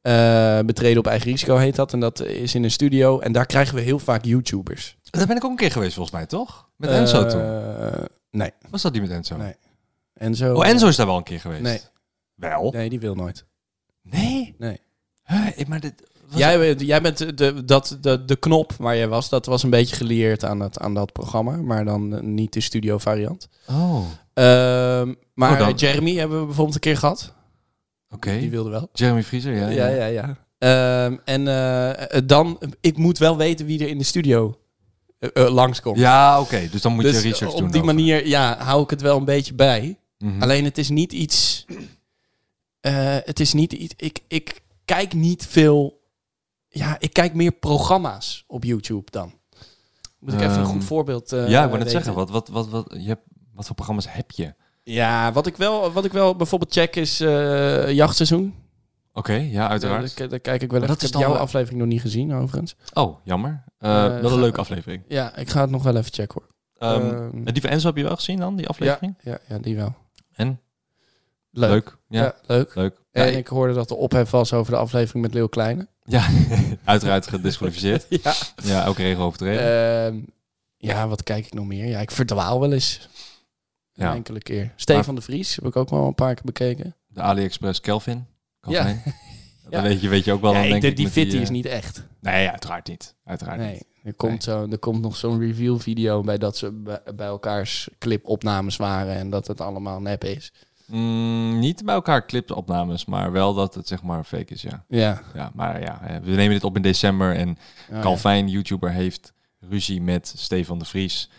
Speaker 3: Eh, Betreden op eigen risico heet dat, en dat is in een studio. En daar krijgen we heel vaak YouTubers.
Speaker 2: Daar ben ik ook een keer geweest, volgens mij, toch? Met Enzo
Speaker 3: Eh,
Speaker 2: toen.
Speaker 3: Nee.
Speaker 2: Was dat die met Enzo?
Speaker 3: nee. Enzo.
Speaker 2: Oh, Enzo is daar wel een keer geweest. Oh.
Speaker 3: Nee.
Speaker 2: Wel?
Speaker 3: Nee, die wil nooit.
Speaker 2: Nee?
Speaker 3: Nee.
Speaker 2: Huh, ik- maar dit... was-
Speaker 3: Jij, bent- jij bent de, dat, de, de knop waar jij was, dat was een beetje geleerd aan, het, aan dat programma, maar dan eh, niet de studio variant.
Speaker 2: Oh, oké.
Speaker 3: Ehm, maar
Speaker 2: Oh, dan-
Speaker 3: Jeremy hebben we bijvoorbeeld een keer gehad. Die wilde wel.
Speaker 2: Jeremy Frieser, ja.
Speaker 3: Ja, ja, ja. Ehm, en eh, eh, dan, ik moet wel weten wie er in de studio eh, eh, langskomt.
Speaker 2: Ja, oké. Dus dan moet
Speaker 3: dus
Speaker 2: je research
Speaker 3: op
Speaker 2: doen.
Speaker 3: die
Speaker 2: over.
Speaker 3: manier ja, hou ik het wel een beetje bij.
Speaker 2: Mhm.
Speaker 3: Alleen het is niet iets. eh, het is niet iets. Ik, ik kijk niet veel. Ja, ik kijk meer programma's op YouTube dan. Moet ik even een
Speaker 2: Ehm,
Speaker 3: goed voorbeeld. eh,
Speaker 2: ja, ik wil net
Speaker 3: weten.
Speaker 2: zeggen. Wat, wat, wat, wat, je hebt, wat voor programma's heb je? Oké,
Speaker 3: Ja, wat ik wel, wat ik wel bijvoorbeeld check is eh, jachtseizoen.
Speaker 2: ja, uiteraard.
Speaker 3: Daar, daar kijk ik wel
Speaker 2: Maar
Speaker 3: even.
Speaker 2: dat is
Speaker 3: Ik heb
Speaker 2: dan
Speaker 3: jouw
Speaker 2: wel-
Speaker 3: aflevering nog niet gezien, overigens.
Speaker 2: Oh, jammer. Eh,
Speaker 3: Eh,
Speaker 2: wel
Speaker 3: ga-
Speaker 2: een leuke aflevering.
Speaker 3: Ja, ik ga het nog wel even checken hoor.
Speaker 2: Ehm,
Speaker 3: Ehm,
Speaker 2: en die van Enzo heb je wel gezien dan, die aflevering?
Speaker 3: Ja, ja, die wel.
Speaker 2: En?
Speaker 3: Leuk.
Speaker 2: Ja,
Speaker 3: Ja, leuk.
Speaker 2: leuk. Ja,
Speaker 3: En
Speaker 2: ik-
Speaker 3: ik hoorde dat de ophef was over de aflevering met Leeuw Kleine.
Speaker 2: ja, uiteraard gedisqualificeerd.
Speaker 3: Ja.
Speaker 2: ja, ook regel overtreden.
Speaker 3: Ehm, ja, wat kijk ik nog meer? Ja, ik verdwaal wel eens. Een
Speaker 2: Ja.
Speaker 3: enkele keer. Stefan de Vries heb ik ook wel een paar keer bekeken.
Speaker 2: de AliExpress Kelvin.
Speaker 3: Ja.
Speaker 2: Calvin.
Speaker 3: Ja.
Speaker 2: Dat weet je, weet je ook wel.
Speaker 3: ja,
Speaker 2: dan
Speaker 3: ik
Speaker 2: denk
Speaker 3: denk,
Speaker 2: ik
Speaker 3: die
Speaker 2: met
Speaker 3: fitty
Speaker 2: eh,
Speaker 3: is niet echt.
Speaker 2: Nee, uiteraard niet. Uiteraard
Speaker 3: Nee,
Speaker 2: niet.
Speaker 3: er komt, zo, er komt nog zo'n review video bij dat ze bij, bij elkaars clipopnames waren en dat het allemaal nep is.
Speaker 2: Mm, niet bij elkaar clipopnames, maar wel dat het zeg maar fake is, ja.
Speaker 3: Ja.
Speaker 2: ja maar ja, eh, we nemen dit op in december en
Speaker 3: Oh,
Speaker 2: Calvin, YouTuber, heeft ruzie met Stefan de Vries.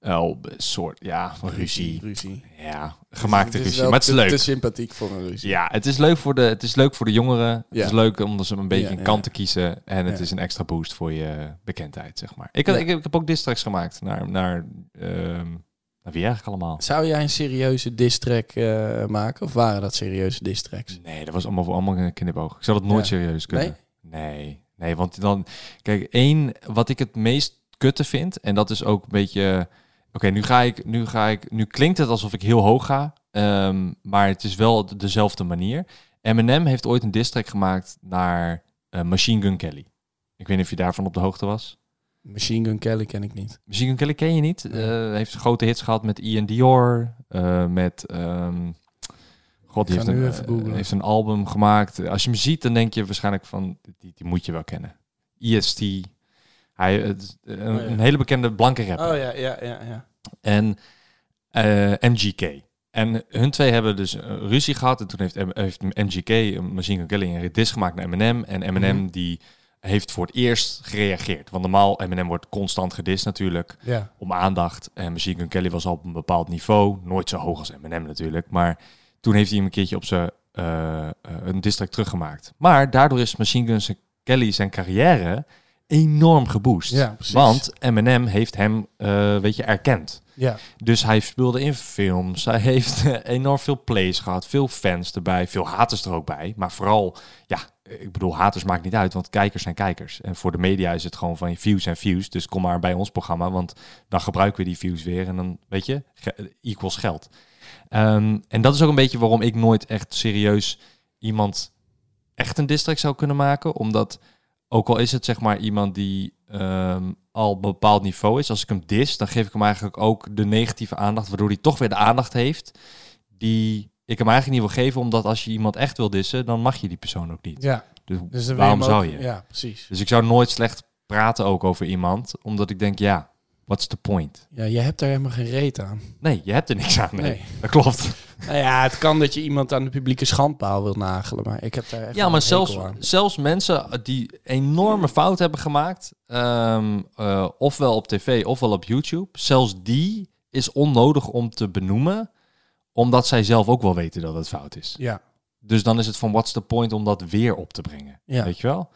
Speaker 2: Oh, soort, ja,
Speaker 3: ja.
Speaker 2: ruzie.
Speaker 3: ruzie.
Speaker 2: Ja, gemaakte
Speaker 3: Het
Speaker 2: ruzie.
Speaker 3: wel
Speaker 2: Maar het is
Speaker 3: te-
Speaker 2: leuk.
Speaker 3: Te sympathiek voor een ruzie.
Speaker 2: Ja, het is leuk voor de, het is leuk voor de jongeren.
Speaker 3: Ja.
Speaker 2: Het is leuk om ze een beetje
Speaker 3: Ja,
Speaker 2: een
Speaker 3: ja.
Speaker 2: kant te kiezen. En het
Speaker 3: Ja.
Speaker 2: is een extra boost voor je bekendheid, zeg maar. Ik, had,
Speaker 3: Ja.
Speaker 2: ik, heb- ik heb ook distracts gemaakt naar, naar ehm, Nou, wie eigenlijk allemaal?
Speaker 3: Zou jij een serieuze diss-track eh, maken? Of waren dat serieuze diss-tracks?
Speaker 2: Nee, dat was allemaal voor allemaal een knipoog. Ik zou dat nooit
Speaker 3: Ja.
Speaker 2: serieus kunnen. Nee? nee, want dan... Kijk, één, wat ik het meest kutte vind, en dat is ook een beetje... Oké, nu ga ik, nu ga ik... Nu klinkt het alsof ik heel hoog ga, ehm, maar het is wel de- dezelfde manier. Eminem heeft ooit een diss track gemaakt naar eh, Machine Gun Kelly. Ik weet niet of je daarvan op de hoogte was.
Speaker 3: Machine Gun Kelly ken ik niet.
Speaker 2: Machine Gun Kelly ken je niet. Eh, heeft grote hits gehad met Ian Dior, eh, met... ehm, God, die
Speaker 3: Ik ga
Speaker 2: heeft een,
Speaker 3: nu even
Speaker 2: eh,
Speaker 3: googlen.
Speaker 2: heeft een album gemaakt. Als je hem ziet, dan denk je waarschijnlijk van... Die, die moet je wel kennen. EST. Hij, het is eh, een,
Speaker 3: Oh, ja.
Speaker 2: een hele bekende blanke rapper.
Speaker 3: Oh ja, ja, ja. ja.
Speaker 2: En eh, MGK. En hun twee hebben dus eh, ruzie gehad. En toen heeft, M- heeft MGK, eh, Machine Gun Kelly, een diss gemaakt naar Eminem. En Eminem
Speaker 3: Mhm.
Speaker 2: die heeft voor het eerst gereageerd. Want normaal, Eminem wordt constant gedist natuurlijk
Speaker 3: ja.
Speaker 2: om aandacht. En Machine Gun Kelly was al op een bepaald niveau. Nooit zo hoog als Eminem natuurlijk. Maar toen heeft hij hem een keertje op zijn eh, eh, een district teruggemaakt. Maar daardoor is Machine Gun Kelly zijn carrière enorm geboost.
Speaker 3: Ja, precies.
Speaker 2: Want Eminem heeft hem, eh, weet je, erkend.
Speaker 3: ja.
Speaker 2: Dus hij speelde in films. Hij heeft eh, enorm veel plays gehad. Veel fans erbij. Veel haters er ook bij. Maar vooral, ja, ik bedoel, haters maakt niet uit. Want kijkers zijn kijkers. En voor de media is het gewoon van views en views. Dus kom maar bij ons programma. Want dan gebruiken we die views weer. En dan, weet je, ge- equals geld. Ehm, en dat is ook een beetje waarom ik nooit echt serieus iemand echt een district zou kunnen maken. Omdat, ook al is het zeg maar iemand die ehm, al op een bepaald niveau is, als ik hem dis, dan geef ik hem eigenlijk ook de negatieve aandacht, waardoor hij toch weer de aandacht heeft die ik hem eigenlijk niet wil geven. Omdat als je iemand echt wil dissen, dan mag je die persoon ook niet.
Speaker 3: ja.
Speaker 2: Dus,
Speaker 3: Dus dan wil
Speaker 2: waarom
Speaker 3: hem ook-
Speaker 2: zou je?
Speaker 3: Ja, precies.
Speaker 2: Dus ik zou nooit slecht praten ook over iemand, omdat ik denk, ja, what's the point?
Speaker 3: Ja, je hebt daar helemaal geen reet aan.
Speaker 2: Nee, je hebt er niks aan. Nee,
Speaker 3: Nee.
Speaker 2: dat klopt.
Speaker 3: Nou ja, het kan dat je iemand aan de publieke schandpaal wil nagelen, maar ik heb daar echt
Speaker 2: Ja,
Speaker 3: wel
Speaker 2: maar
Speaker 3: een
Speaker 2: zelfs,
Speaker 3: hekel aan.
Speaker 2: zelfs mensen uh, die enorme fout hebben gemaakt, ehm, eh, ofwel op tv ofwel op YouTube, zelfs die is onnodig om te benoemen, omdat zij zelf ook wel weten dat het fout is.
Speaker 3: Ja,
Speaker 2: Dus dan is het van what's the point om dat weer op te brengen,
Speaker 3: Ja.
Speaker 2: weet je wel?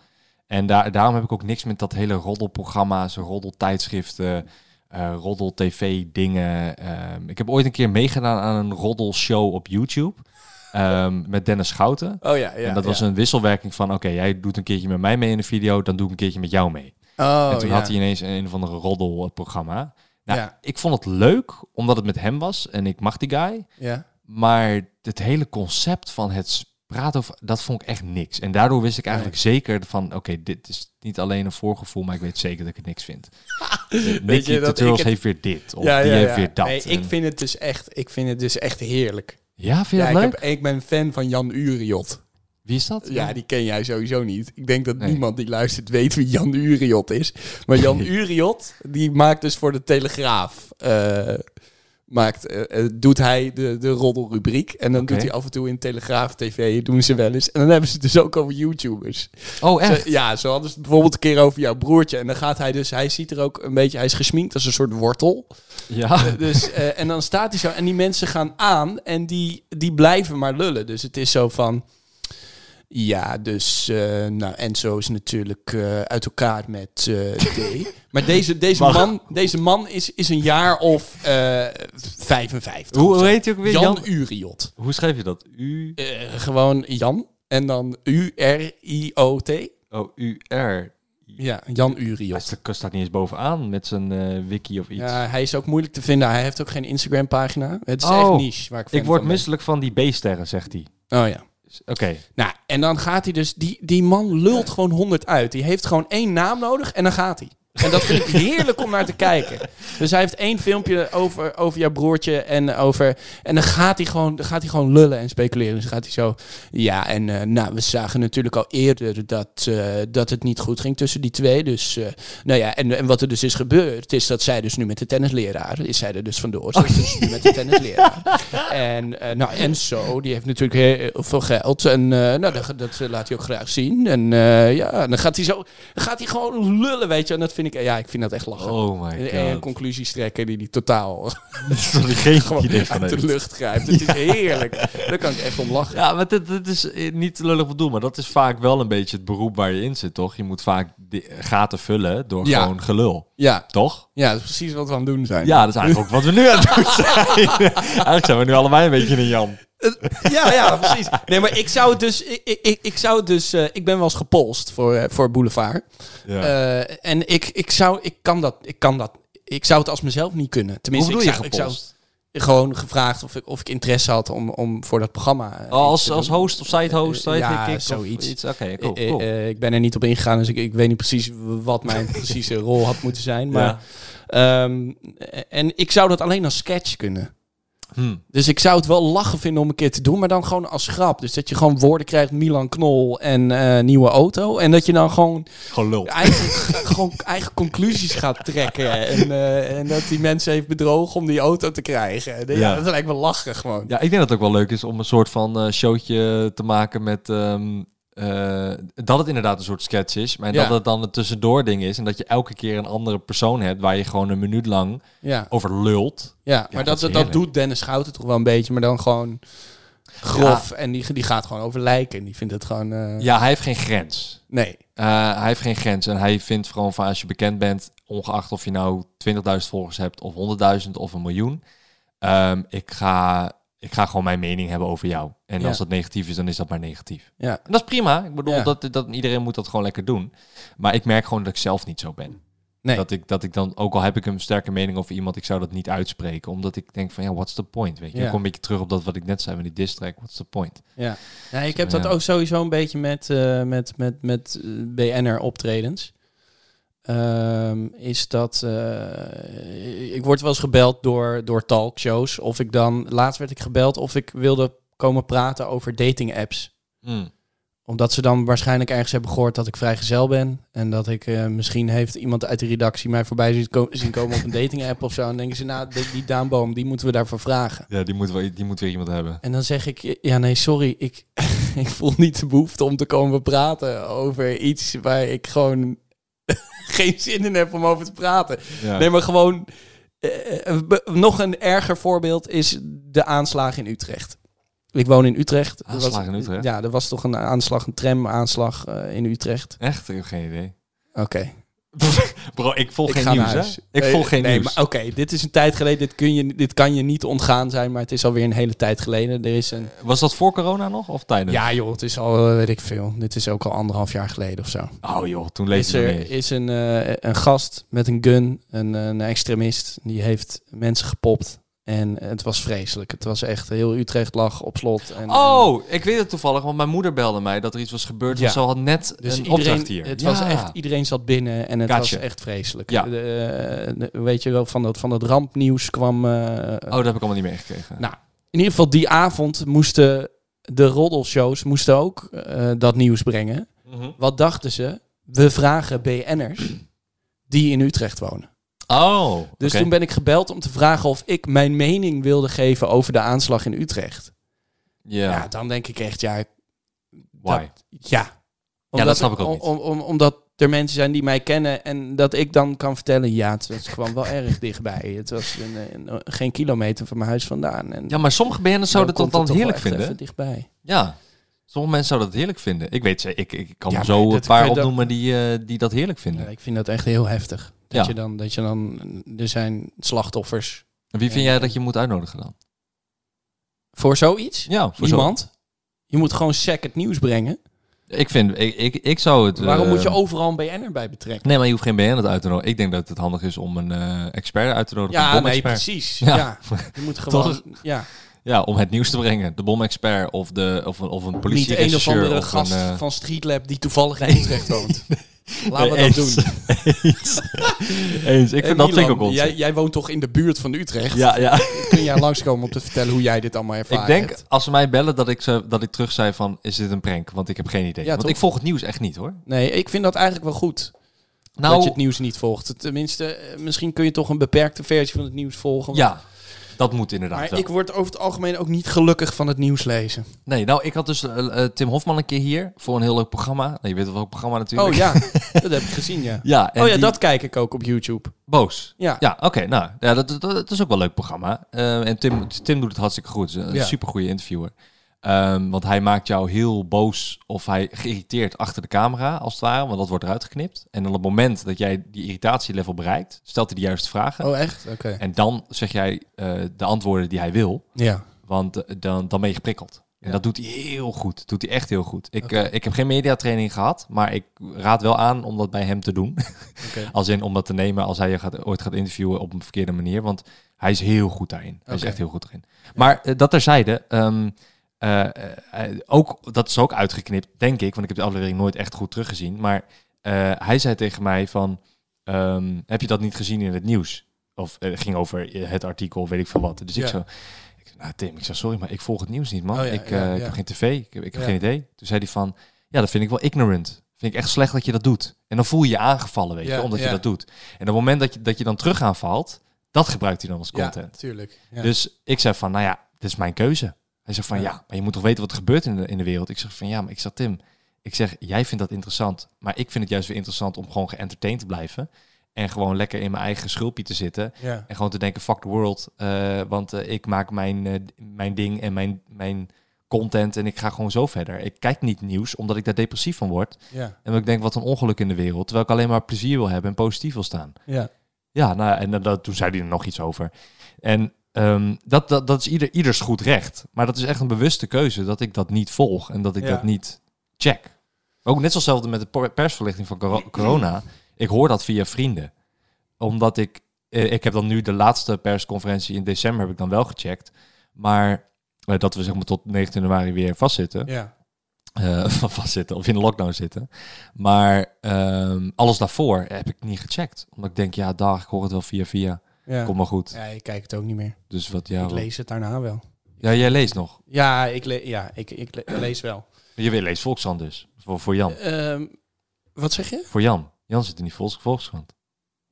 Speaker 2: En daar, daarom heb ik ook niks met dat hele roddelprogramma's, roddeltijdschriften, eh roddel-tv-dingen. Ehm, ik heb ooit een keer meegedaan aan een roddelshow op YouTube ehm, met Dennis Schouten
Speaker 3: oh ja, ja.
Speaker 2: en dat was een wisselwerking van, oké, jij doet een keertje met mij mee in de video, dan doe ik een keertje met jou mee.
Speaker 3: Oh,
Speaker 2: en toen
Speaker 3: ja.
Speaker 2: had hij ineens een, een of andere roddelprogramma. Nou,
Speaker 3: Ja.
Speaker 2: ik vond het leuk, omdat het met hem was en ik mag die guy.
Speaker 3: Ja.
Speaker 2: Maar het hele concept van het praten over, dat vond ik echt niks. En daardoor wist ik eigenlijk zeker van, oké, dit is niet alleen een voorgevoel, maar ik weet zeker dat ik het niks vind.
Speaker 3: Weet
Speaker 2: Nicky
Speaker 3: je dat ik
Speaker 2: Tutorials
Speaker 3: het-
Speaker 2: heeft weer dit, of die heeft weer dat.
Speaker 3: Nee, ik
Speaker 2: En-
Speaker 3: vind het dus echt, ik vind het dus echt heerlijk.
Speaker 2: Ja, vind je
Speaker 3: ja,
Speaker 2: dat
Speaker 3: ik,
Speaker 2: leuk?
Speaker 3: heb, ik ben fan van Jan Uriot.
Speaker 2: Wie is dat?
Speaker 3: Ja, die ken jij sowieso niet. Ik denk dat
Speaker 2: Nee.
Speaker 3: niemand die luistert weet wie Jan Uriot is. Maar Jan Uriot, die maakt dus voor de Telegraaf... eh, maakt, eh, eh, doet hij de, de roddelrubriek. En dan doet
Speaker 2: Oké.
Speaker 3: hij af en toe in Telegraaf TV, doen ze wel eens. En dan hebben ze het dus ook over YouTubers.
Speaker 2: Oh, echt?
Speaker 3: Ze- ja, zo hadden ze het bijvoorbeeld een keer over jouw broertje. En dan gaat hij dus, hij ziet er ook een beetje, hij is gesminkt als een soort wortel.
Speaker 2: Ja.
Speaker 3: Dus, eh, en dan staat hij zo. En die mensen gaan aan en die, die blijven maar lullen. Dus het is zo van. Ja, dus eh nou, Enzo is natuurlijk eh, uit elkaar met eh, D. maar deze, deze
Speaker 2: Mag-
Speaker 3: man, deze man is, is een jaar of eh 55.
Speaker 2: Hoe,
Speaker 3: of zo.
Speaker 2: hoe heet hij ook weer?
Speaker 3: Jan,
Speaker 2: Jan?
Speaker 3: Uriot.
Speaker 2: Hoe schrijf je dat? U...
Speaker 3: Eh, gewoon Jan. En dan U-R-I-O-T.
Speaker 2: Oh, UR.
Speaker 3: Ja, Jan
Speaker 2: Hij
Speaker 3: Uriot.
Speaker 2: sta- staat niet eens bovenaan met zijn eh, wiki of iets.
Speaker 3: Ja, hij is ook moeilijk te vinden. Hij heeft ook geen Instagram-pagina. Het is
Speaker 2: Oh,
Speaker 3: echt niche. Waar ik, fan
Speaker 2: ik word
Speaker 3: van ben.
Speaker 2: misselijk van die B-sterren, zegt hij.
Speaker 3: Oh ja.
Speaker 2: S- Oké.
Speaker 3: Nou, en dan gaat hij dus... Die, die man lult gewoon 100 uit. Die heeft gewoon één naam nodig en dan gaat hij. En dat vind ik heerlijk om naar te kijken. Dus hij heeft één filmpje over, over jouw broertje en over... En dan gaat hij gewoon, dan gaat hij gewoon lullen en speculeren. Dus gaat hij zo... Ja, en eh, nou, we zagen natuurlijk al eerder dat, eh, dat het niet goed ging tussen die twee. Dus eh, nou ja, en, en wat er dus is gebeurd... is dat zij dus nu met de tennisleraar... is zij er dus vandoor. Ze is dus nu met de tennisleraar. En eh, nou, Enzo, die heeft natuurlijk heel veel geld. En eh, nou, dat, dat laat hij ook graag zien. En eh, ja, dan gaat hij zo, dan gaat hij gewoon lullen, weet je. En dat vind ik, ja, ik vind dat echt lachen.
Speaker 2: Oh my
Speaker 3: en,
Speaker 2: god.
Speaker 3: en conclusies trekken die die totaal
Speaker 2: Sorry, geen
Speaker 3: gewoon
Speaker 2: idee van
Speaker 3: uit de
Speaker 2: heeft.
Speaker 3: lucht grijpt. Het is heerlijk. Daar kan ik echt om lachen.
Speaker 2: Ja, maar dit, dit is eh, niet lullig bedoeld, maar dat is vaak wel een beetje het beroep waar je in zit, toch? Je moet vaak di- gaten vullen door
Speaker 3: Ja.
Speaker 2: gewoon gelul,
Speaker 3: Ja,
Speaker 2: toch?
Speaker 3: ja, dat is precies wat we aan het doen zijn.
Speaker 2: Ja, dat is eigenlijk ook wat we nu aan het doen zijn. eigenlijk zijn we nu allebei een beetje een Jan.
Speaker 3: Ja, ja, precies. Nee, maar ik zou het dus. Ik, ik- ik, ik zou het dus. eh, ik ben wel eens gepolst voor, eh, voor Boulevard.
Speaker 2: Ja.
Speaker 3: Eh, en ik, ik zou. Ik kan dat. Ik kan dat. Ik zou het als mezelf niet kunnen. Tenminste,
Speaker 2: Hoe
Speaker 3: ik
Speaker 2: bedoel
Speaker 3: zou,
Speaker 2: je
Speaker 3: ik zou
Speaker 2: gepolst?
Speaker 3: gewoon gevraagd of ik, of ik interesse had om, om voor dat programma. eh,
Speaker 2: Oh,
Speaker 3: iets
Speaker 2: als,
Speaker 3: te
Speaker 2: als
Speaker 3: doen.
Speaker 2: host of side host,
Speaker 3: Eh,
Speaker 2: weet
Speaker 3: ja,
Speaker 2: ik, of
Speaker 3: zoiets.
Speaker 2: iets. Oké, cool,
Speaker 3: Eh, eh,
Speaker 2: cool.
Speaker 3: eh, ik ben er niet op ingegaan, dus ik, ik weet niet precies w- wat mijn precieze rol had moeten zijn. Maar,
Speaker 2: Ja.
Speaker 3: ehm, eh, en ik zou dat alleen als sketch kunnen.
Speaker 2: Hm.
Speaker 3: Dus ik zou het wel lachen vinden om een keer te doen, maar dan gewoon als grap. Dus dat je gewoon woorden krijgt, Milan Knol en eh, nieuwe auto. En dat je dan gewoon
Speaker 2: Gewoon lul.
Speaker 3: eigen, gewoon eigen conclusies gaat trekken. En, eh, en dat die mensen heeft bedrogen om die auto te krijgen. Ja,
Speaker 2: Ja.
Speaker 3: Dat lijkt me lachen gewoon.
Speaker 2: Ja, ik denk dat het ook wel leuk is om een soort van eh, showtje te maken met... ehm, eh, dat het inderdaad een soort sketch is, maar
Speaker 3: Ja.
Speaker 2: dat het dan een tussendoor ding is. En dat je elke keer een andere persoon hebt waar je gewoon een minuut lang
Speaker 3: Ja,
Speaker 2: over lult.
Speaker 3: ja maar
Speaker 2: dat
Speaker 3: dat,
Speaker 2: is
Speaker 3: dat,
Speaker 2: heerlijk.
Speaker 3: doet Dennis Schouten toch wel een beetje, maar dan gewoon grof. En die, die gaat gewoon over lijken. Die vindt het gewoon... eh,
Speaker 2: Ja, hij heeft geen grens.
Speaker 3: Nee.
Speaker 2: Eh, hij heeft geen grens. En hij vindt gewoon van als je bekend bent, ongeacht of je nou 20.000 volgers hebt of 100.000 of een miljoen. ehm, ik, ga, ik ga gewoon mijn mening hebben over jou. En
Speaker 3: Ja.
Speaker 2: als dat negatief is, dan is dat maar negatief.
Speaker 3: Ja.
Speaker 2: En dat is prima. Ik bedoel,
Speaker 3: Ja.
Speaker 2: dat, dat, iedereen moet dat gewoon lekker doen. Maar ik merk gewoon dat ik zelf niet zo ben.
Speaker 3: Nee.
Speaker 2: Dat, ik, dat ik dan, ook al heb ik een sterke mening over iemand, ik zou dat niet uitspreken. Omdat ik denk van, ja, what's the point? Weet je?
Speaker 3: Ja.
Speaker 2: Ik kom een beetje terug op dat wat ik net zei met die diss track. What's the point?
Speaker 3: Ja. ja, ik heb dat
Speaker 2: Ja.
Speaker 3: ook sowieso een beetje met, eh, met, met, met eh, BN'er optredens. Ehm, is dat eh, ik word wel eens gebeld door, door talkshows. Of ik dan, laatst werd ik gebeld of ik wilde komen praten over dating apps.
Speaker 2: Mm.
Speaker 3: Omdat ze dan waarschijnlijk ergens hebben gehoord dat ik vrijgezel ben. En dat ik eh, misschien heeft iemand uit de redactie mij voorbij zien, ko- zien komen op een dating app of zo. En dan denken ze, nou, die, die Daanboom, die moeten we daarvoor vragen.
Speaker 2: Ja, die moet, wel, die moet weer iemand hebben.
Speaker 3: En dan zeg ik, eh, ja nee, sorry, ik, ik voel niet de behoefte om te komen praten over iets waar ik gewoon geen zin in heb om over te praten.
Speaker 2: Ja.
Speaker 3: Nee, maar gewoon, eh, eh, be- nog een erger voorbeeld is de aanslagen in Utrecht. Ik woon in Utrecht. Er was-
Speaker 2: Aanslag in Utrecht?
Speaker 3: Ja, er was toch een aanslag, een tramaanslag eh, in Utrecht.
Speaker 2: Echt? Ik heb geen idee.
Speaker 3: Oké.
Speaker 2: Bro, ik volg
Speaker 3: Ik
Speaker 2: geen
Speaker 3: ga naar
Speaker 2: nieuws, hè?
Speaker 3: huis.
Speaker 2: Ik
Speaker 3: Eh,
Speaker 2: volg geen
Speaker 3: nee,
Speaker 2: nieuws.
Speaker 3: maar Oké, dit is een tijd geleden. Dit, kun je, dit kan je niet ontgaan zijn, maar het is alweer een hele tijd geleden. Er is een
Speaker 2: Was dat voor corona nog of tijdens?
Speaker 3: Ja, joh, het is al, eh, weet ik veel. Dit is ook al anderhalf jaar geleden of zo.
Speaker 2: Oh joh, toen
Speaker 3: Is
Speaker 2: lees je
Speaker 3: er
Speaker 2: mee.
Speaker 3: is een, eh, een gast met een gun, een, eh, een extremist, die heeft mensen gepopt. En het was vreselijk. Het was echt heel Utrecht lag op slot. En,
Speaker 2: Oh, ik weet het toevallig, want mijn moeder belde mij dat er iets was gebeurd.
Speaker 3: Ja.
Speaker 2: want Ze had net
Speaker 3: en- dus
Speaker 2: een
Speaker 3: iedereen,
Speaker 2: opdracht hier.
Speaker 3: het
Speaker 2: Ja. Oh,
Speaker 3: was echt, iedereen zat binnen en het
Speaker 2: Gotcha.
Speaker 3: was echt vreselijk.
Speaker 2: Ja.
Speaker 3: De, eh, de- weet je wel, van dat, van dat rampnieuws kwam. eh,
Speaker 2: Oh, dat heb ik allemaal niet meegekregen.
Speaker 3: Nou, in ieder geval die avond moesten de roddelshows moesten ook eh, dat nieuws brengen.
Speaker 2: Mhm.
Speaker 3: Wat dachten ze? We vragen BN'ers die in Utrecht wonen.
Speaker 2: Oh,
Speaker 3: Dus
Speaker 2: oké.
Speaker 3: toen ben ik gebeld om te vragen of ik mijn mening wilde geven over de aanslag in Utrecht.
Speaker 2: Ja,
Speaker 3: Ja, dan denk ik echt, ja,
Speaker 2: why?
Speaker 3: dat- ja.
Speaker 2: dat snap ik ook
Speaker 3: om-
Speaker 2: niet.
Speaker 3: om- om- omdat er mensen zijn die mij kennen en dat ik dan kan vertellen, ja, het was, kwam wel erg dichtbij. Het was een, een- geen kilometer van mijn huis vandaan. En
Speaker 2: Ja, maar sommige BN'ers zouden dat
Speaker 3: komt
Speaker 2: dan
Speaker 3: het toch wel
Speaker 2: heerlijk
Speaker 3: echt
Speaker 2: vinden.
Speaker 3: even dichtbij.
Speaker 2: Ja, sommige mensen zouden dat heerlijk vinden. Ik weet ze, ik, ik kan
Speaker 3: Ja,
Speaker 2: er
Speaker 3: maar
Speaker 2: zo een
Speaker 3: dat-
Speaker 2: paar
Speaker 3: dat-
Speaker 2: opnoemen die, eh, die dat heerlijk vinden.
Speaker 3: Ja, ik vind dat echt heel heftig. Dat,
Speaker 2: Ja.
Speaker 3: je dan, dat je dan, er zijn slachtoffers
Speaker 2: En Wie vind jij dat je moet uitnodigen dan?
Speaker 3: voor zoiets.
Speaker 2: Ja, voor zo-
Speaker 3: Niemand. Je moet gewoon sec het nieuws brengen.
Speaker 2: Ik vind, ik, ik, ik zou het...
Speaker 3: Waarom
Speaker 2: eh,
Speaker 3: moet je overal een BN'er bij betrekken?
Speaker 2: Nee, maar je hoeft geen BN'er uit te nodigen. Ik denk dat het handig is om een eh, expert uit te nodigen. een
Speaker 3: Ja, nee,
Speaker 2: bomexpert.
Speaker 3: precies.
Speaker 2: Ja.
Speaker 3: Ja. Je moet gewoon... Ja.
Speaker 2: Ja, om het nieuws te brengen. De bomexpert of, de, of, een- of een
Speaker 3: Niet
Speaker 2: politie
Speaker 3: een of andere
Speaker 2: een,
Speaker 3: gast
Speaker 2: eh,
Speaker 3: van Streetlab die toevallig in Utrecht woont. Laten we
Speaker 2: eens,
Speaker 3: dat doen.
Speaker 2: Eens. Eens. Ik
Speaker 3: Hey,
Speaker 2: vind, dat vind ik ook
Speaker 3: Milan,
Speaker 2: onzin.
Speaker 3: jij, jij woont toch in de buurt van Utrecht?
Speaker 2: Ja, ja.
Speaker 3: Kun jij langskomen om te vertellen hoe jij dit allemaal ervaart?
Speaker 2: Ik denk, als ze mij bellen, dat ik, ze, dat ik terug zei van... Is dit een prank? Want ik heb geen idee.
Speaker 3: Ja,
Speaker 2: Want
Speaker 3: toch?
Speaker 2: ik volg het nieuws echt niet, hoor.
Speaker 3: Nee, ik vind dat eigenlijk wel goed.
Speaker 2: Nou,
Speaker 3: Dat je het nieuws niet volgt. Tenminste, eh, misschien kun je toch een beperkte versie van het nieuws volgen.
Speaker 2: ja. Dat moet inderdaad
Speaker 3: Maar
Speaker 2: wel.
Speaker 3: ik word over het algemeen ook niet gelukkig van het nieuws lezen.
Speaker 2: Nee, nou, ik had dus eh, eh, Tim Hofman een keer hier voor een heel leuk programma. Nou, je weet wel welk programma natuurlijk.
Speaker 3: Oh ja, dat heb ik gezien, ja.
Speaker 2: Ja, en
Speaker 3: oh ja,
Speaker 2: die-
Speaker 3: dat kijk ik ook op YouTube.
Speaker 2: Boos.
Speaker 3: Ja.
Speaker 2: Ja, oké. nou, ja, dat, dat, dat is ook wel een leuk programma. Eh, en Tim, Tim doet het hartstikke goed. Hij is Een
Speaker 3: Ja.
Speaker 2: super goede interviewer. Ehm, want hij maakt jou heel boos of hij geïrriteerd achter de camera, als het ware. Want dat wordt eruit geknipt. En op het moment dat jij die irritatielevel bereikt, stelt hij de juiste vragen.
Speaker 3: Oh echt? Oké.
Speaker 2: En dan zeg jij eh, de antwoorden die hij wil.
Speaker 3: Ja.
Speaker 2: Want eh, dan, dan ben je geprikkeld. En dat doet hij heel goed. Dat doet hij echt heel goed. Ik, eh, ik heb geen mediatraining gehad, maar ik raad wel aan om dat bij hem te doen.
Speaker 3: Oké.
Speaker 2: als in om dat te nemen als hij je gaat, ooit gaat interviewen op een verkeerde manier. Want hij is heel goed daarin. Hij is
Speaker 3: Oké.
Speaker 2: echt heel goed erin. Maar eh, dat terzijde. ehm, eh, eh, eh, ook, dat is ook uitgeknipt, denk ik. Want ik heb de aflevering nooit echt goed teruggezien. Maar eh, hij zei tegen mij van... ehm, heb je dat niet gezien in het nieuws? Of eh, het ging over eh, het artikel, weet ik veel wat. Dus ik
Speaker 3: Ja.
Speaker 2: zo... Ik, zei, nou Tim, ik zei sorry, maar ik volg het nieuws niet, man.
Speaker 3: Oh ja,
Speaker 2: ik,
Speaker 3: ja,
Speaker 2: eh, ik
Speaker 3: ja.
Speaker 2: heb geen tv, ik heb, ik heb
Speaker 3: Ja.
Speaker 2: geen idee. Toen zei hij van, ja, dat vind ik wel ignorant. Vind ik echt slecht dat je dat doet. En dan voel je je aangevallen, weet
Speaker 3: Ja,
Speaker 2: je, omdat
Speaker 3: ja.
Speaker 2: je dat doet. En op het moment dat je, dat je dan terug aanvalt, dat gebruikt hij dan als
Speaker 3: Ja,
Speaker 2: content.
Speaker 3: tuurlijk. Ja.
Speaker 2: Dus ik zei van, nou ja, dit is mijn keuze. Hij zegt van,
Speaker 3: Ja.
Speaker 2: ja, maar je moet toch weten wat er gebeurt in de, in de wereld. Ik zeg van, ja, maar ik zeg Tim, ik zeg, jij vindt dat interessant. Maar ik vind het juist weer interessant om gewoon geëntertained te blijven. En gewoon lekker in mijn eigen schulpje te zitten.
Speaker 3: ja.
Speaker 2: En gewoon te denken, fuck the world. eh, want eh, ik maak mijn, eh, mijn ding en mijn, mijn content en ik ga gewoon zo verder. Ik kijk niet nieuws, omdat ik daar depressief van word.
Speaker 3: ja.
Speaker 2: En omdat ik denk, wat een ongeluk in de wereld. Terwijl ik alleen maar plezier wil hebben en positief wil staan.
Speaker 3: ja.
Speaker 2: Ja, nou, en dat- dat, toen zei hij er nog iets over. En ehm, dat, dat, dat is ieder, ieders goed recht. Maar dat is echt een bewuste keuze dat ik dat niet volg en dat ik
Speaker 3: Ja.
Speaker 2: dat niet check. Ook net zo'nzelfde met de por- persverlichting van coro- corona. Ik hoor dat via vrienden. Omdat ik, eh, ik heb dan nu de laatste persconferentie in december heb ik dan wel gecheckt. Maar eh, dat we zeg maar tot 19 januari weer vastzitten
Speaker 3: ja.
Speaker 2: eh, van vastzitten of in de lockdown zitten. Maar ehm, alles daarvoor heb ik niet gecheckt. Omdat ik denk, ja, dag, ik hoor het wel via via.
Speaker 3: ja.
Speaker 2: Komt wel goed.
Speaker 3: Ja, ik kijk het ook niet meer.
Speaker 2: Dus wat, ja,
Speaker 3: ik
Speaker 2: wat-
Speaker 3: lees het daarna wel.
Speaker 2: ja jij leest nog.
Speaker 3: Ja, ik, le- ja, ik, ik le- lees wel.
Speaker 2: Je wil- leest Volkskrant dus. Voor, voor Jan.
Speaker 3: Ehm, wat zeg je?
Speaker 2: Voor Jan. Jan zit in die Volks, Volkskrant.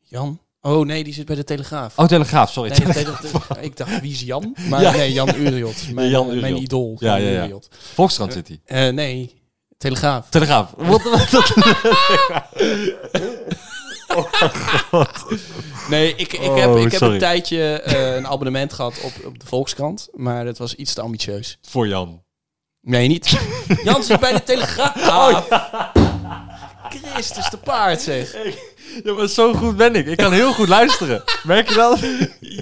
Speaker 3: Jan? Oh nee, die zit bij de Telegraaf.
Speaker 2: Oh, Telegraaf, sorry.
Speaker 3: Nee, de Telegraaf. ik dacht, wie is Jan? Maar
Speaker 2: Ja.
Speaker 3: nee, Jan Uriot. Mijn,
Speaker 2: Jan
Speaker 3: eh,
Speaker 2: Uriot.
Speaker 3: mijn idool.
Speaker 2: Ja,
Speaker 3: Jan
Speaker 2: ja, ja.
Speaker 3: Uriot.
Speaker 2: Volkskrant zit hij.
Speaker 3: Eh, nee, Telegraaf.
Speaker 2: Telegraaf. Wat, wat- wat-
Speaker 3: Nee, ik, ik,
Speaker 2: Oh,
Speaker 3: heb, ik heb
Speaker 2: sorry.
Speaker 3: een tijdje eh, een abonnement gehad op, op de Volkskrant. Maar dat was iets te ambitieus.
Speaker 2: voor Jan.
Speaker 3: Nee, niet. Jan zit bij de Telegraaf.
Speaker 2: Oh,
Speaker 3: Ah, Christus de paard, zeg.
Speaker 2: Ja, maar zo goed ben ik. Ik kan heel goed luisteren. Merk je dat?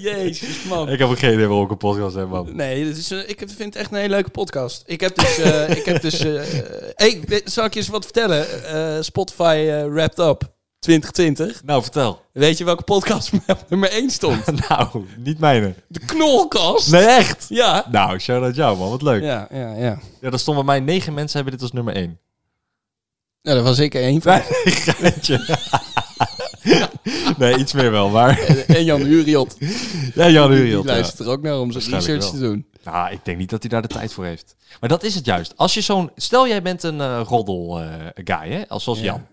Speaker 3: Jezus, man.
Speaker 2: Ik heb ook geen idee waarom ik een podcast heb, man.
Speaker 3: Nee, dit is, een- ik vind het echt een hele leuke podcast. Ik heb dus... eh, ik heb dus eh, eh, hey, we- zal ik je eens wat vertellen? Eh, Spotify eh, Wrapped Up 2020.
Speaker 2: Nou, vertel.
Speaker 3: Weet je welke podcast op nummer 1 stond?
Speaker 2: nou, niet mijne.
Speaker 3: De Knolkast.
Speaker 2: Nee, echt?
Speaker 3: Ja.
Speaker 2: Nou, shout-out jou, man. Wat leuk.
Speaker 3: Ja, ja, ja.
Speaker 2: Ja, daar stonden bij mij negen mensen hebben dit als nummer één.
Speaker 3: Nou, dat was ik er één van.
Speaker 2: Geintje. nee, iets meer wel, maar...
Speaker 3: En- En Jan Uriot.
Speaker 2: Ja, Jan
Speaker 3: Die
Speaker 2: Uriot. ja.
Speaker 3: luistert er ook naar om zijn
Speaker 2: Waarschijnlijk
Speaker 3: research te
Speaker 2: wel.
Speaker 3: doen.
Speaker 2: Nou, ik denk niet dat hij daar de tijd voor heeft. Maar dat is het juist. Als je zo'n... Stel, jij bent een eh, roddel eh, guy, hè? Als, zoals
Speaker 3: Ja.
Speaker 2: Jan.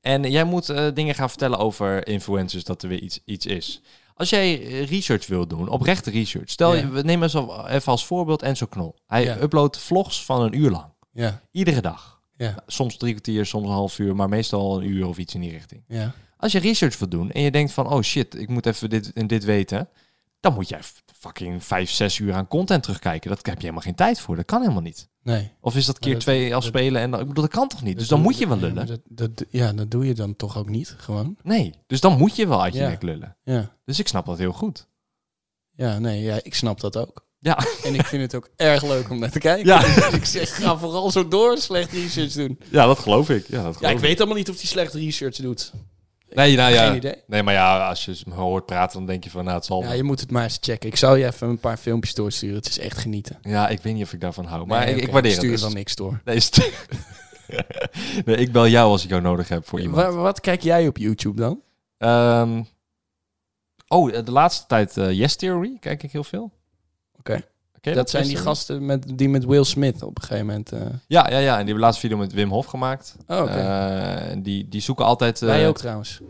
Speaker 2: En jij moet eh, dingen gaan vertellen over influencers, dat er weer iets, iets is. Als jij eh, research wil doen, oprechte research. Stel,
Speaker 3: Ja.
Speaker 2: je- we nemen zo- even als voorbeeld Enzo Knol. Hij
Speaker 3: Ja.
Speaker 2: uploadt vlogs van een uur lang.
Speaker 3: Ja,
Speaker 2: Iedere dag.
Speaker 3: ja,
Speaker 2: Soms drie kwartier, soms een half uur, maar meestal een uur of iets in die richting.
Speaker 3: ja.
Speaker 2: Als je research wilt doen en je denkt van, oh shit, ik moet even dit en dit weten, dan moet jij f- fucking vijf, zes uur aan content terugkijken. Dat heb je helemaal geen tijd voor. Dat kan helemaal niet.
Speaker 3: Nee.
Speaker 2: Of is dat keer
Speaker 3: dat-
Speaker 2: twee afspelen en dan, ik bedoel, dat kan toch niet? Dus dan moet je wel
Speaker 3: Ja, maar
Speaker 2: lullen.
Speaker 3: dat, dat, ja, dat doe je dan toch ook niet, gewoon.
Speaker 2: Nee, dus dan moet je wel uit je
Speaker 3: Ja.
Speaker 2: nek lullen.
Speaker 3: Ja,
Speaker 2: Dus ik snap dat heel goed.
Speaker 3: ja nee, ja, ik snap dat ook.
Speaker 2: Ja,
Speaker 3: En ik vind het ook erg leuk om naar te kijken.
Speaker 2: Ja.
Speaker 3: Dus ik zeg, ga vooral zo door slecht research doen.
Speaker 2: ja dat geloof ik. Ja, dat
Speaker 3: Ja, ik weet allemaal niet of hij slecht research doet.
Speaker 2: Nee, nou ja.
Speaker 3: Geen idee.
Speaker 2: Nee, maar ja, als je me hoort praten, dan denk je van, nou, het zal
Speaker 3: Ja,
Speaker 2: wel.
Speaker 3: je moet het maar eens checken. Ik zal je even een paar filmpjes doorsturen. Het is echt genieten.
Speaker 2: Ja, ik weet niet of ik daarvan hou, maar
Speaker 3: Nee,
Speaker 2: ik, ik
Speaker 3: oké,
Speaker 2: waardeer
Speaker 3: stuur
Speaker 2: het.
Speaker 3: dan
Speaker 2: Dus-
Speaker 3: niks door.
Speaker 2: Nee, stuur- nee, ik bel jou als ik jou nodig heb voor iemand.
Speaker 3: Wa- wat kijk jij op YouTube dan?
Speaker 2: Ehm, oh, eh, de laatste tijd eh, Yes Theory kijk ik heel veel.
Speaker 3: Oké.
Speaker 2: Ken je
Speaker 3: Dat zijn
Speaker 2: Yes
Speaker 3: die
Speaker 2: Theory?
Speaker 3: gasten met, die met Will Smith op een gegeven moment. eh.
Speaker 2: Ja, ja, ja. En die hebben laatst video met Wim Hof gemaakt.
Speaker 3: Oh, oké.
Speaker 2: Eh, en die, die zoeken altijd... eh,
Speaker 3: Wij ook trouwens.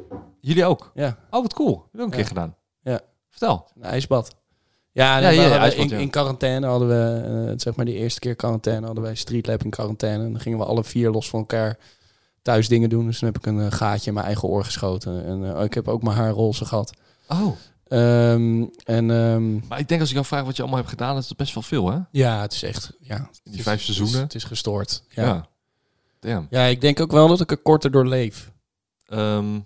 Speaker 2: Jullie ook?
Speaker 3: Ja,
Speaker 2: Oh, wat cool. Dat heb ik ook een
Speaker 3: Ja.
Speaker 2: keer gedaan.
Speaker 3: Ja.
Speaker 2: Vertel.
Speaker 3: een ijsbad. Ja,
Speaker 2: Ja,
Speaker 3: nee, maar
Speaker 2: ja,
Speaker 3: we hadden-
Speaker 2: uitspot,
Speaker 3: in,
Speaker 2: ja.
Speaker 3: in quarantaine hadden we, eh, zeg maar die eerste keer quarantaine, hadden wij Street Lab in quarantaine. En dan gingen we alle vier los van elkaar thuis dingen doen. Dus toen heb ik een eh, gaatje in mijn eigen oor geschoten. En eh, ik heb ook mijn haar roze gehad.
Speaker 2: Oh,
Speaker 3: Ehm, en ehm,
Speaker 2: maar ik denk als ik jou vraag wat je allemaal hebt gedaan, is dat best wel veel, hè?
Speaker 3: ja, het is echt, ja. het
Speaker 2: Die
Speaker 3: is-
Speaker 2: vijf
Speaker 3: het is-
Speaker 2: seizoenen.
Speaker 3: Het is gestoord. Ja. ja.
Speaker 2: Ja. Damn.
Speaker 3: ik denk ook wel dat ik er korter door leef.
Speaker 2: Ehm,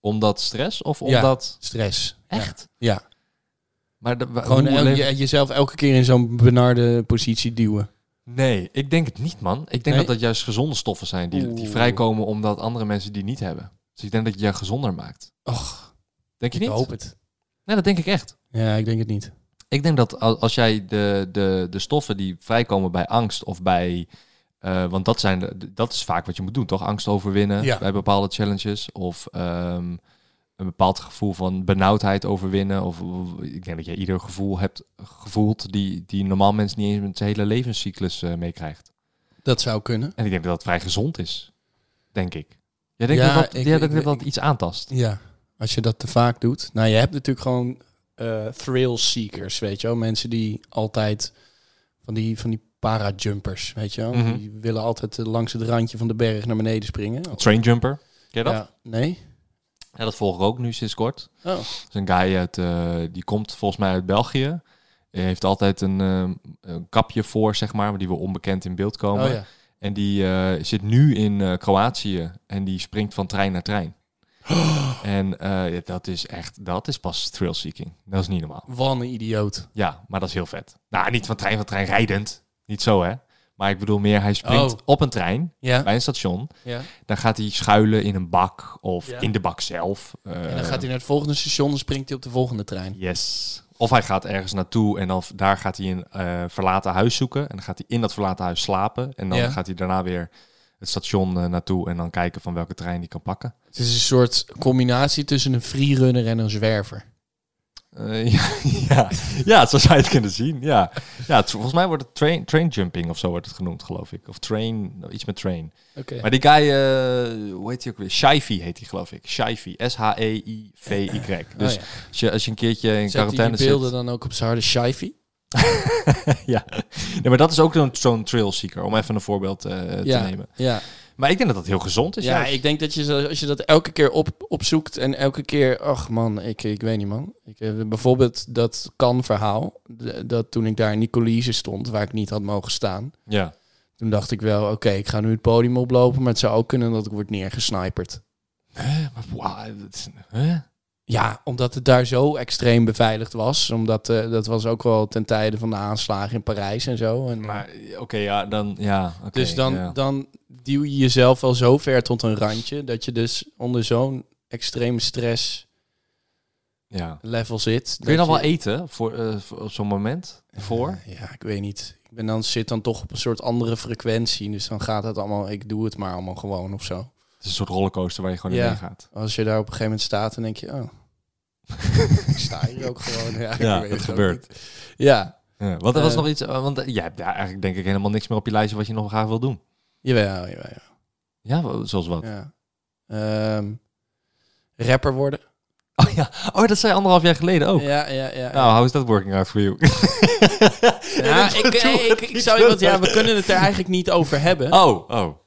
Speaker 2: omdat stress of
Speaker 3: Ja.
Speaker 2: omdat...
Speaker 3: Stress. Ja.
Speaker 2: Echt?
Speaker 3: Ja.
Speaker 2: Maar de, wa-
Speaker 3: Gewoon
Speaker 2: hoe
Speaker 3: el-
Speaker 2: leef-
Speaker 3: je- jezelf elke keer in zo'n benarde positie duwen.
Speaker 2: Nee, ik denk het niet, man. Ik denk
Speaker 3: Nee?
Speaker 2: dat dat juist gezonde stoffen zijn die, die
Speaker 3: Oeh.
Speaker 2: vrijkomen omdat andere mensen die niet hebben. Dus ik denk dat je je gezonder maakt.
Speaker 3: Och,
Speaker 2: Denk je
Speaker 3: ik
Speaker 2: niet?
Speaker 3: hoop het.
Speaker 2: Nee, dat denk ik echt.
Speaker 3: Ja, ik denk het niet.
Speaker 2: Ik denk dat al- als jij de, de, de stoffen die vrijkomen bij angst of bij... eh, want dat, zijn, de- dat is vaak wat je moet doen, toch? Angst overwinnen
Speaker 3: Ja.
Speaker 2: bij bepaalde challenges. Of ehm, een bepaald gevoel van benauwdheid overwinnen. Of, of- ik denk dat je ieder gevoel hebt gevoeld... die, die normaal mensen niet eens met zijn hele levenscyclus eh, meekrijgt.
Speaker 3: Dat zou kunnen.
Speaker 2: En ik denk dat dat vrij gezond is. Denk ik. Jij denkt
Speaker 3: Ja,
Speaker 2: dat dat,
Speaker 3: ik-
Speaker 2: jij denkt
Speaker 3: ik-
Speaker 2: dat, dat
Speaker 3: ik-
Speaker 2: iets aantast?
Speaker 3: Ja, als je dat te vaak doet. Nou, je hebt natuurlijk gewoon eh, thrill seekers, weet je wel. Mensen die altijd van die, van die para-jumpers, weet je wel.
Speaker 2: Mhm.
Speaker 3: Die willen altijd eh, langs het randje van de berg naar beneden springen. Oh,
Speaker 2: Train jumper. Ken je dat? Ja.
Speaker 3: ja, nee?
Speaker 2: dat volg ik ook nu sinds kort.
Speaker 3: Oh,
Speaker 2: Dat is een guy uit, eh, die komt volgens mij uit België. Hij heeft altijd een, ehm, een kapje voor, zeg maar, maar die wil onbekend in beeld komen.
Speaker 3: oh ja.
Speaker 2: En die eh, zit nu in eh, Kroatië en die springt van trein naar trein. En eh, dat is echt, dat is pas thrill seeking. Dat is niet normaal.
Speaker 3: Wat een idioot.
Speaker 2: Ja, maar dat is heel vet. Nou, niet van trein van trein rijdend. Niet zo, hè? Maar ik bedoel meer, hij springt
Speaker 3: Oh.
Speaker 2: op een trein
Speaker 3: Ja,
Speaker 2: bij een station.
Speaker 3: ja.
Speaker 2: Dan gaat hij schuilen in een bak of
Speaker 3: Ja.
Speaker 2: in de bak zelf. Eh,
Speaker 3: En dan gaat hij naar het volgende station en springt hij op de volgende trein.
Speaker 2: Yes. Of hij gaat ergens naartoe en dan v- daar gaat hij een eh, verlaten huis zoeken. En dan gaat hij in dat verlaten huis slapen. En dan
Speaker 3: Ja.
Speaker 2: gaat hij daarna weer het station eh, naartoe en dan kijken van welke trein hij kan pakken.
Speaker 3: Het is een soort combinatie tussen een freerunner en een zwerver.
Speaker 2: Eh, ja, ja. ja, zo zou je het kunnen zien. Ja, ja het- volgens mij wordt het train, train jumping of zo wordt het genoemd, geloof ik. Of train, nou, iets met train.
Speaker 3: Oké.
Speaker 2: Maar die guy, eh, hoe heet hij ook weer? Shivy heet hij, geloof ik. Shivy. E S-H-E-I-V-Y. Dus
Speaker 3: Oh, ja.
Speaker 2: als, je, als je een keertje in
Speaker 3: Zet hij
Speaker 2: quarantaine
Speaker 3: die beelden
Speaker 2: zit...
Speaker 3: dan ook op zijn harde shifty?
Speaker 2: ja. Nee, maar dat is ook zo'n zo'n trail seeker, om even een voorbeeld eh, te nemen.
Speaker 3: ja.
Speaker 2: Maar ik denk dat dat heel gezond is.
Speaker 3: ja,
Speaker 2: Dus juist.
Speaker 3: ik denk dat je zo- als je dat elke keer op, opzoekt en elke keer, ach man, ik, ik weet niet man. Ik, eh, bijvoorbeeld dat kan verhaal, d- dat toen ik daar in Nicolise stond, waar ik niet had mogen staan.
Speaker 2: Ja.
Speaker 3: Toen dacht ik wel, oké, ik ga nu het podium oplopen, maar het zou ook kunnen dat ik word neergesniperd.
Speaker 2: Maar wauw, dat is- hè?
Speaker 3: Ja, omdat het daar zo extreem beveiligd was. Omdat eh, dat was ook wel ten tijde van de aanslagen in Parijs en zo. En,
Speaker 2: Maar eh, oké, ja, dan... Ja, oké,
Speaker 3: Dus dan,
Speaker 2: ja.
Speaker 3: dan duw je jezelf wel zo ver tot een randje dat je dus onder zo'n extreme stress
Speaker 2: ja.
Speaker 3: level zit.
Speaker 2: Kun je
Speaker 3: dat
Speaker 2: dan wel eten voor, eh, voor- op zo'n moment? Voor?
Speaker 3: Ja, ik weet niet. Ik ben dan, zit dan toch op een soort andere frequentie. Dus dan gaat het allemaal, ik doe het maar allemaal gewoon of zo.
Speaker 2: Het is een soort rollercoaster waar je gewoon
Speaker 3: Ja.
Speaker 2: in meegaat.
Speaker 3: Als je daar op een gegeven moment staat, dan denk je, oh, ik sta hier ook gewoon. Ja, ik
Speaker 2: Ja,
Speaker 3: weet
Speaker 2: dat
Speaker 3: ook
Speaker 2: gebeurt.
Speaker 3: niet. Ja,
Speaker 2: Ja, wat er was
Speaker 3: Eh.
Speaker 2: nog iets... eh, Want eh, jij hebt daar eigenlijk denk ik helemaal niks meer op je lijstje wat je nog graag wil doen.
Speaker 3: jawel, jawel. jawel.
Speaker 2: Ja, wa- zoals wat?
Speaker 3: Ja. Ehm, rapper worden.
Speaker 2: Oh ja, oh, dat zei je anderhalf jaar geleden ook.
Speaker 3: Ja, ja, ja. ja.
Speaker 2: Nou, how is that working out for you?
Speaker 3: Ja, ik, ik, ik, ik zou je wat, ja, we kunnen het er eigenlijk niet over hebben.
Speaker 2: Oh, oh.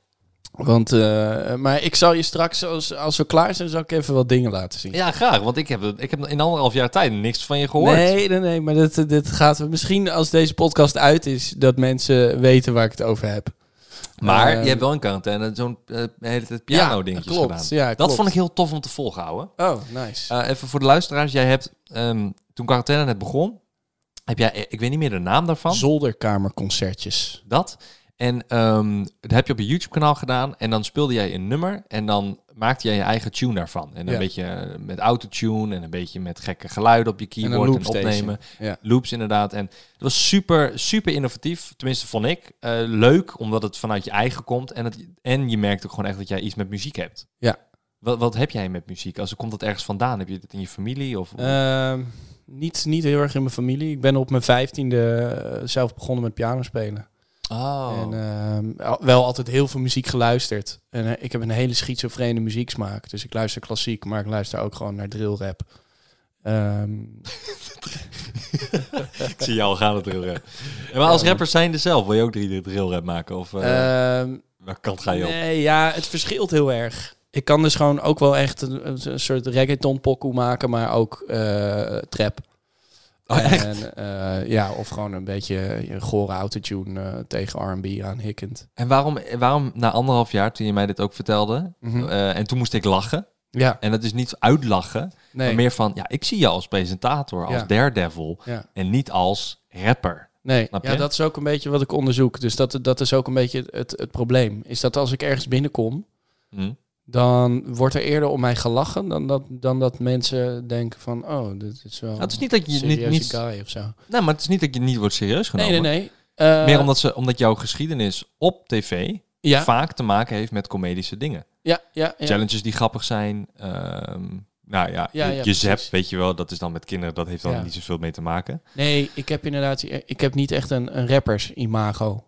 Speaker 3: Want, eh, maar ik zal je straks, als, als we klaar zijn, zal ik even wat dingen laten zien.
Speaker 2: Ja, graag, want ik heb, het- ik heb in anderhalf jaar tijd niks van je gehoord.
Speaker 3: Nee, nee, nee, maar dit, dit gaat we misschien als deze podcast uit is, dat mensen weten waar ik het over heb.
Speaker 2: Maar
Speaker 3: Ehm,
Speaker 2: je hebt wel een en zo'n eh, hele tijd piano dingetjes
Speaker 3: klopt,
Speaker 2: gedaan.
Speaker 3: ja,
Speaker 2: dat
Speaker 3: klopt.
Speaker 2: vond ik heel tof om te volhouden.
Speaker 3: Oh, nice.
Speaker 2: Eh, even voor de luisteraars, jij hebt ehm, toen quarantaine net begon, heb jij, eh, ik weet niet meer de naam daarvan,
Speaker 3: Zolderkamerconcertjes.
Speaker 2: dat. En ehm, dat heb je op je YouTube-kanaal gedaan en dan speelde jij een nummer en dan maakte jij je eigen tune daarvan. En een
Speaker 3: Ja.
Speaker 2: beetje eh, met autotune en een beetje met gekke geluiden op je
Speaker 3: een
Speaker 2: keyboard en,
Speaker 3: loopstation.
Speaker 2: opnemen.
Speaker 3: Ja.
Speaker 2: Loops inderdaad. En het was super, super innovatief, tenminste vond ik. Eh, leuk, omdat het vanuit je eigen komt en, het, en je merkt ook gewoon echt dat jij iets met muziek hebt.
Speaker 3: Ja.
Speaker 2: Wat, wat heb jij met muziek? Als, komt dat ergens vandaan? Heb je dit in je familie? Of,
Speaker 3: Ehm, niet, niet heel erg in mijn familie. Ik ben op mijn vijftiende eh, zelf begonnen met piano spelen.
Speaker 2: oh.
Speaker 3: En ehm, al- wel altijd heel veel muziek geluisterd. En eh, ik heb een hele schizofrene muzieksmaak. Dus ik luister klassiek, maar ik luister ook gewoon naar drillrap. Ehm,
Speaker 2: Ik zie jou al gaan, het drillrap. En maar als rapper zijnde zelf, wil je ook drie drillrap maken? Of eh
Speaker 3: Ehm,
Speaker 2: welke kant ga je op?
Speaker 3: nee, ja, het verschilt heel erg. Ik kan dus gewoon ook wel echt een, een- een soort reggaeton pokoe maken, maar ook eh, trap. En, eh, ja, of gewoon een beetje een gore autotune eh, tegen R&B aanhikkend.
Speaker 2: En waarom, waarom na anderhalf jaar, toen je mij dit ook vertelde,
Speaker 3: Mhm.
Speaker 2: eh, en toen moest ik lachen.
Speaker 3: Ja,
Speaker 2: En dat is niet uitlachen,
Speaker 3: nee.
Speaker 2: maar meer van, ja, ik zie je als presentator, als
Speaker 3: Ja.
Speaker 2: daredevil,
Speaker 3: Ja.
Speaker 2: en niet als rapper.
Speaker 3: Nee,
Speaker 2: Snap
Speaker 3: ja,
Speaker 2: je?
Speaker 3: dat is ook een beetje wat ik onderzoek. Dus dat, dat is ook een beetje het, het probleem. Is dat als ik ergens binnenkom, Oh,
Speaker 2: Hm?
Speaker 3: dan wordt er eerder om mij gelachen dan dat, dan dat mensen denken van, oh, dit is wel
Speaker 2: Nou, het is niet dat je
Speaker 3: een
Speaker 2: niet,
Speaker 3: serieuze
Speaker 2: niet,
Speaker 3: guy of zo.
Speaker 2: nee, maar het is niet dat je niet wordt serieus
Speaker 3: Nee,
Speaker 2: genomen.
Speaker 3: nee, nee. Eh,
Speaker 2: Meer omdat, ze, omdat jouw geschiedenis op tv
Speaker 3: ja,
Speaker 2: vaak te maken heeft met comedische dingen.
Speaker 3: ja, ja, ja.
Speaker 2: Challenges die grappig zijn. ehm, nou ja,
Speaker 3: Ja,
Speaker 2: je,
Speaker 3: ja,
Speaker 2: je zap,
Speaker 3: precies.
Speaker 2: weet je wel, dat is dan met kinderen, dat heeft dan
Speaker 3: Ja.
Speaker 2: niet zoveel mee te maken.
Speaker 3: Nee, ik heb inderdaad, ik heb niet echt een, een rappers-imago.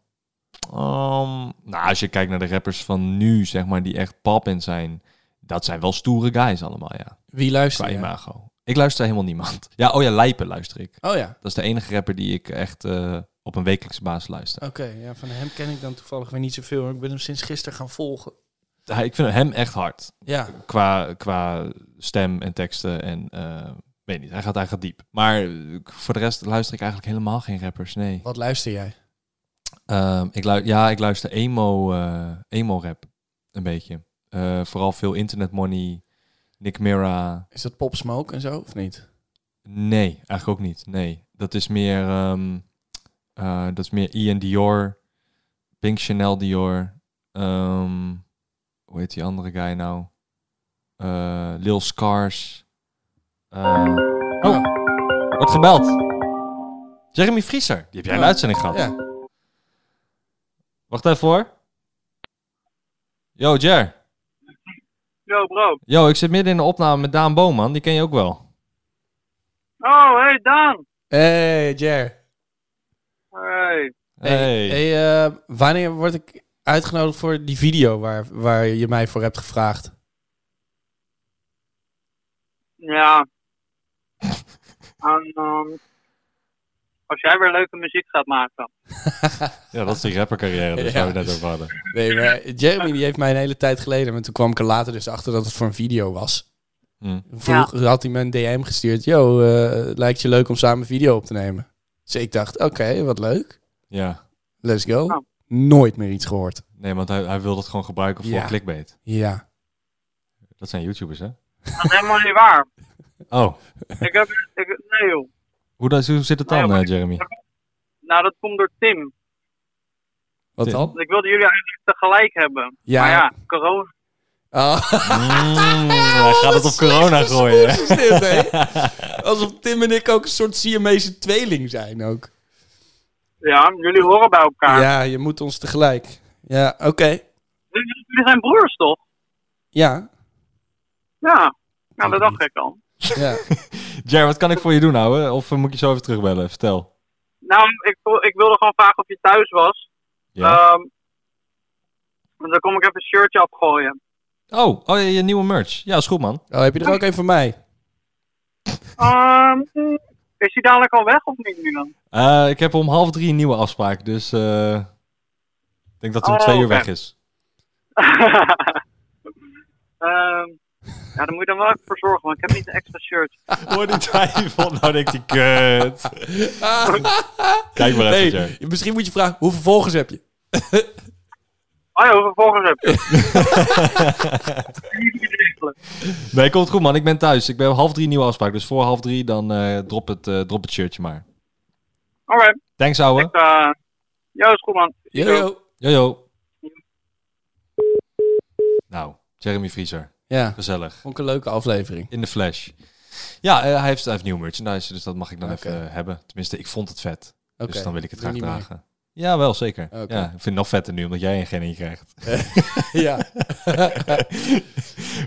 Speaker 2: Ehm, nou, als je kijkt naar de rappers van nu, zeg maar, die echt poppin zijn, dat zijn wel stoere guys allemaal, ja.
Speaker 3: Wie
Speaker 2: Qua
Speaker 3: luistert? ja?
Speaker 2: imago. Ik luister helemaal niemand. Ja, oh ja, Lijpen luister ik.
Speaker 3: Oh ja,
Speaker 2: Dat is de enige rapper die ik echt eh, op een wekelijkse basis luister.
Speaker 3: oké. ja, van hem ken ik dan toevallig weer niet zoveel. maar Ik ben hem sinds gisteren gaan volgen.
Speaker 2: Hij- ik vind hem echt hard.
Speaker 3: Ja,
Speaker 2: Qua, qua stem en teksten en... eh, weet niet, hij gaat, hij gaat diep. Maar eh, voor de rest luister ik eigenlijk helemaal geen rappers, nee.
Speaker 3: wat luister jij?
Speaker 2: Ehm, ik lu- ja, ik luister emo, eh, emo-rap. Een beetje. Eh, vooral veel Internet Money, Nick Mira.
Speaker 3: Is dat Pop Smoke en zo, of niet?
Speaker 2: Nee, eigenlijk ook niet. Nee, dat is meer, ehm, eh, dat is meer Ian Dior, Pink Chanel Dior. ehm, hoe heet die andere guy nou? Eh, Lil Scars. eh, oh, wordt gebeld. Jeremy Frieser, die heb jij in de
Speaker 3: Oh,
Speaker 2: uitzending gehad.
Speaker 3: Ja.
Speaker 2: Wacht even hoor. Yo, Jer.
Speaker 5: Yo, bro.
Speaker 2: Yo, ik zit midden in de opname met Daan Boman. Die ken je ook wel.
Speaker 5: Oh, hey, Daan.
Speaker 3: Hey, Jer.
Speaker 5: Hey.
Speaker 2: Hey.
Speaker 3: hey eh, wanneer word ik uitgenodigd voor die video waar, waar je mij voor hebt gevraagd?
Speaker 5: Ja. En, ehm, als jij weer leuke muziek gaat maken.
Speaker 2: Ja, dat is die rappercarrière. Dus waar we het net over hadden.
Speaker 3: Nee, maar Jeremy die heeft mij een hele tijd geleden, maar toen kwam ik er later dus achter dat het voor een video was.
Speaker 2: Hm.
Speaker 3: Vroeg had hij me een DM gestuurd. Yo, eh, het lijkt je leuk om samen een video op te nemen? Dus ik dacht, oké, wat leuk.
Speaker 2: Ja.
Speaker 3: Let's go.
Speaker 5: Nou.
Speaker 3: Nooit meer iets gehoord.
Speaker 2: Nee, want hij, hij wil dat gewoon gebruiken voor
Speaker 3: Ja.
Speaker 2: clickbait.
Speaker 3: Ja.
Speaker 2: Dat zijn YouTubers, hè?
Speaker 5: Dat is helemaal niet waar.
Speaker 2: Oh,
Speaker 5: Ik heb, ik, nee, joh.
Speaker 2: hoe, dat- hoe zit het
Speaker 5: Nee,
Speaker 2: dan,
Speaker 5: maar-
Speaker 2: eh, Jeremy?
Speaker 5: Nou, dat komt door Tim.
Speaker 3: Wat
Speaker 2: Tim.
Speaker 3: dan?
Speaker 5: Want ik wilde jullie eigenlijk tegelijk hebben.
Speaker 3: Ja.
Speaker 5: Maar ja, corona.
Speaker 3: Ah.
Speaker 2: Mm, hij gaat het op corona
Speaker 3: Slechte
Speaker 2: gooien.
Speaker 3: smoes is dit, hè? Alsof Tim en ik ook een soort Siamese tweeling zijn ook.
Speaker 5: Ja, jullie horen bij elkaar.
Speaker 3: Ja, je moet ons tegelijk. Ja, oké.
Speaker 5: Jullie jullie zijn broers, toch?
Speaker 3: Ja.
Speaker 5: Ja.
Speaker 3: het
Speaker 5: Nou, dat dacht ik al.
Speaker 3: ja.
Speaker 2: Jer, wat kan ik voor je doen, ouwe? Of eh, moet ik je zo even terugbellen? Vertel.
Speaker 5: Nou, ik, ik wilde gewoon vragen of je thuis was.
Speaker 2: Ja.
Speaker 5: Ehm, want dan kom ik even een shirtje afgooien.
Speaker 2: Oh, oh, je, je nieuwe merch. Ja, is goed, man.
Speaker 3: Oh, heb je er ook een van mij?
Speaker 5: Ehm, is hij dadelijk al weg of niet nu dan?
Speaker 2: Eh, ik heb om half drie een nieuwe afspraak, dus... eh, ik denk dat hij om
Speaker 5: Oh,
Speaker 2: twee uur
Speaker 5: oké.
Speaker 2: weg is.
Speaker 5: Ehm, ja, daar moet je dan wel even voor zorgen, want ik heb niet een extra shirt.
Speaker 2: Hoor die twijfel, nou denkt hij, kut. Kijk maar even,
Speaker 3: Hey,
Speaker 2: Jer.
Speaker 3: misschien moet je vragen, hoeveel volgers heb je?
Speaker 5: Oh ja, hoeveel volgers heb je?
Speaker 2: Nee, komt goed man, ik ben thuis. Ik ben om half drie nieuwe afspraak, dus voor half drie dan eh, drop, het, eh, drop het shirtje maar.
Speaker 5: Alright,
Speaker 2: Thanks ouwe.
Speaker 5: ik, eh, ja, is goed man.
Speaker 3: Yo, yo.
Speaker 2: Jojo. Nou, Jeremy Vriezer.
Speaker 3: Ja,
Speaker 2: Gezellig.
Speaker 3: vond ik een leuke aflevering.
Speaker 2: In de flash. Ja, eh, hij, heeft, hij heeft nieuw merchandise, dus dat mag ik dan
Speaker 3: Oké.
Speaker 2: even eh, hebben. Tenminste, ik vond het vet,
Speaker 3: Oké.
Speaker 2: dus dan wil ik het
Speaker 3: doe
Speaker 2: graag
Speaker 3: niet mee.
Speaker 2: dragen. Ja, wel zeker.
Speaker 3: Oké.
Speaker 2: Ja, ik vind het nog vetter nu, omdat jij een geen in krijgt.
Speaker 3: Ja.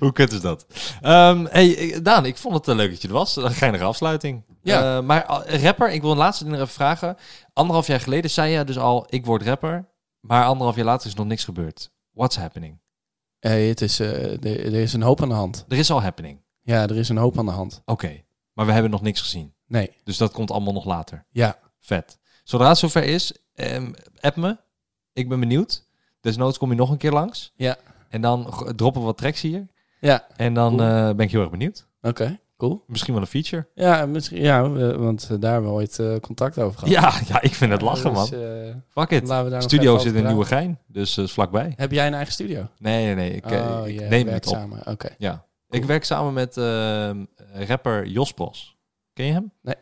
Speaker 2: Hoe kut is dat? Ehm, hey, eh, Daan, ik vond het eh, leuk dat je er was. Een geinige afsluiting.
Speaker 3: Ja.
Speaker 2: Eh, maar ah, rapper, ik wil een laatste ding nog even vragen. Anderhalf jaar geleden zei je dus al, ik word rapper. Maar anderhalf jaar later is nog niks gebeurd. What's happening?
Speaker 3: Hey, het is, eh, er, er is een hoop aan de hand.
Speaker 2: Er is al happening.
Speaker 3: Ja, er is een hoop aan de hand.
Speaker 2: Oké, maar we hebben nog niks gezien.
Speaker 3: Nee.
Speaker 2: Dus dat komt allemaal nog later.
Speaker 3: Ja.
Speaker 2: Vet. Zodra het zover is, ehm, app me. Ik ben benieuwd. Desnoods kom je nog een keer langs.
Speaker 3: Ja.
Speaker 2: En dan g- droppen we wat tracks hier.
Speaker 3: Ja.
Speaker 2: En dan
Speaker 3: Cool.
Speaker 2: eh, ben ik heel erg benieuwd.
Speaker 3: Oké, cool.
Speaker 2: Misschien wel een feature.
Speaker 3: Ja, misschien, ja we- want eh, daar hebben we ooit eh, contact over gehad.
Speaker 2: Ja, ja, ik vind het lachen, man.
Speaker 3: Dus, eh,
Speaker 2: Fuck it.
Speaker 3: laten we daar nog even
Speaker 2: Studio
Speaker 3: over
Speaker 2: zit in
Speaker 3: praten.
Speaker 2: Nieuwegein, dus eh, is vlakbij.
Speaker 3: Heb jij een eigen studio?
Speaker 2: Nee, nee, nee. Ik, eh,
Speaker 3: Oh,
Speaker 2: ik
Speaker 3: jij
Speaker 2: neem
Speaker 3: werkt
Speaker 2: het op.
Speaker 3: samen. Oké.
Speaker 2: Ja.
Speaker 3: Cool.
Speaker 2: Ik werk samen met ehm, rapper Jos Bos. Ken je hem?
Speaker 3: Nee.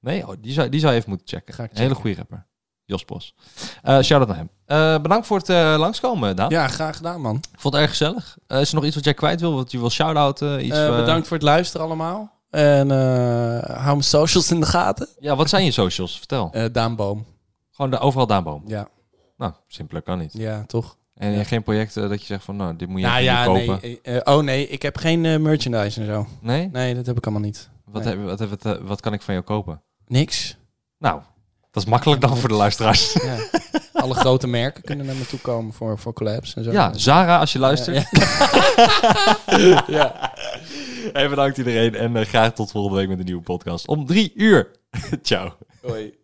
Speaker 2: Nee? Oh, die, zou, die zou je even moeten checken.
Speaker 3: Ga ik
Speaker 2: Een hele
Speaker 3: checken.
Speaker 2: goede rapper. Jos Bos. Eh shout-out naar hem. Eh, bedankt voor het eh, langskomen, Daan.
Speaker 3: Ja, graag gedaan, man.
Speaker 2: Ik vond het erg gezellig. Eh, is er nog iets wat jij kwijt wil, wat je wil shout-outen? Iets,
Speaker 3: Eh,
Speaker 2: eh,
Speaker 3: bedankt voor het luisteren allemaal. En eh, hou mijn socials in de gaten.
Speaker 2: Ja, wat zijn je socials? Vertel.
Speaker 3: Eh Daan Boom.
Speaker 2: Gewoon de, overal Daanboom.
Speaker 3: Ja,
Speaker 2: Nou, simpeler kan niet.
Speaker 3: ja toch?
Speaker 2: En
Speaker 3: Ja.
Speaker 2: geen projecten dat je zegt van, nou, dit moet je
Speaker 3: nou
Speaker 2: even
Speaker 3: ja,
Speaker 2: niet kopen.
Speaker 3: nee. eh, eh, oh nee, ik heb geen eh, merchandise en zo.
Speaker 2: Nee?
Speaker 3: Nee, dat heb ik allemaal niet.
Speaker 2: Wat,
Speaker 3: nee.
Speaker 2: heb- wat, heb- wat, eh, wat kan ik van jou kopen?
Speaker 3: Niks.
Speaker 2: Nou, dat is makkelijk dan voor de luisteraars.
Speaker 3: Ja. Alle grote merken kunnen naar me toe komen voor, voor collabs en zo.
Speaker 2: Ja, Zara, als je luistert.
Speaker 3: Ja, ja.
Speaker 2: Hey, bedankt iedereen en eh, graag tot volgende week met een nieuwe podcast om drie uur. Ciao.
Speaker 3: Hoi.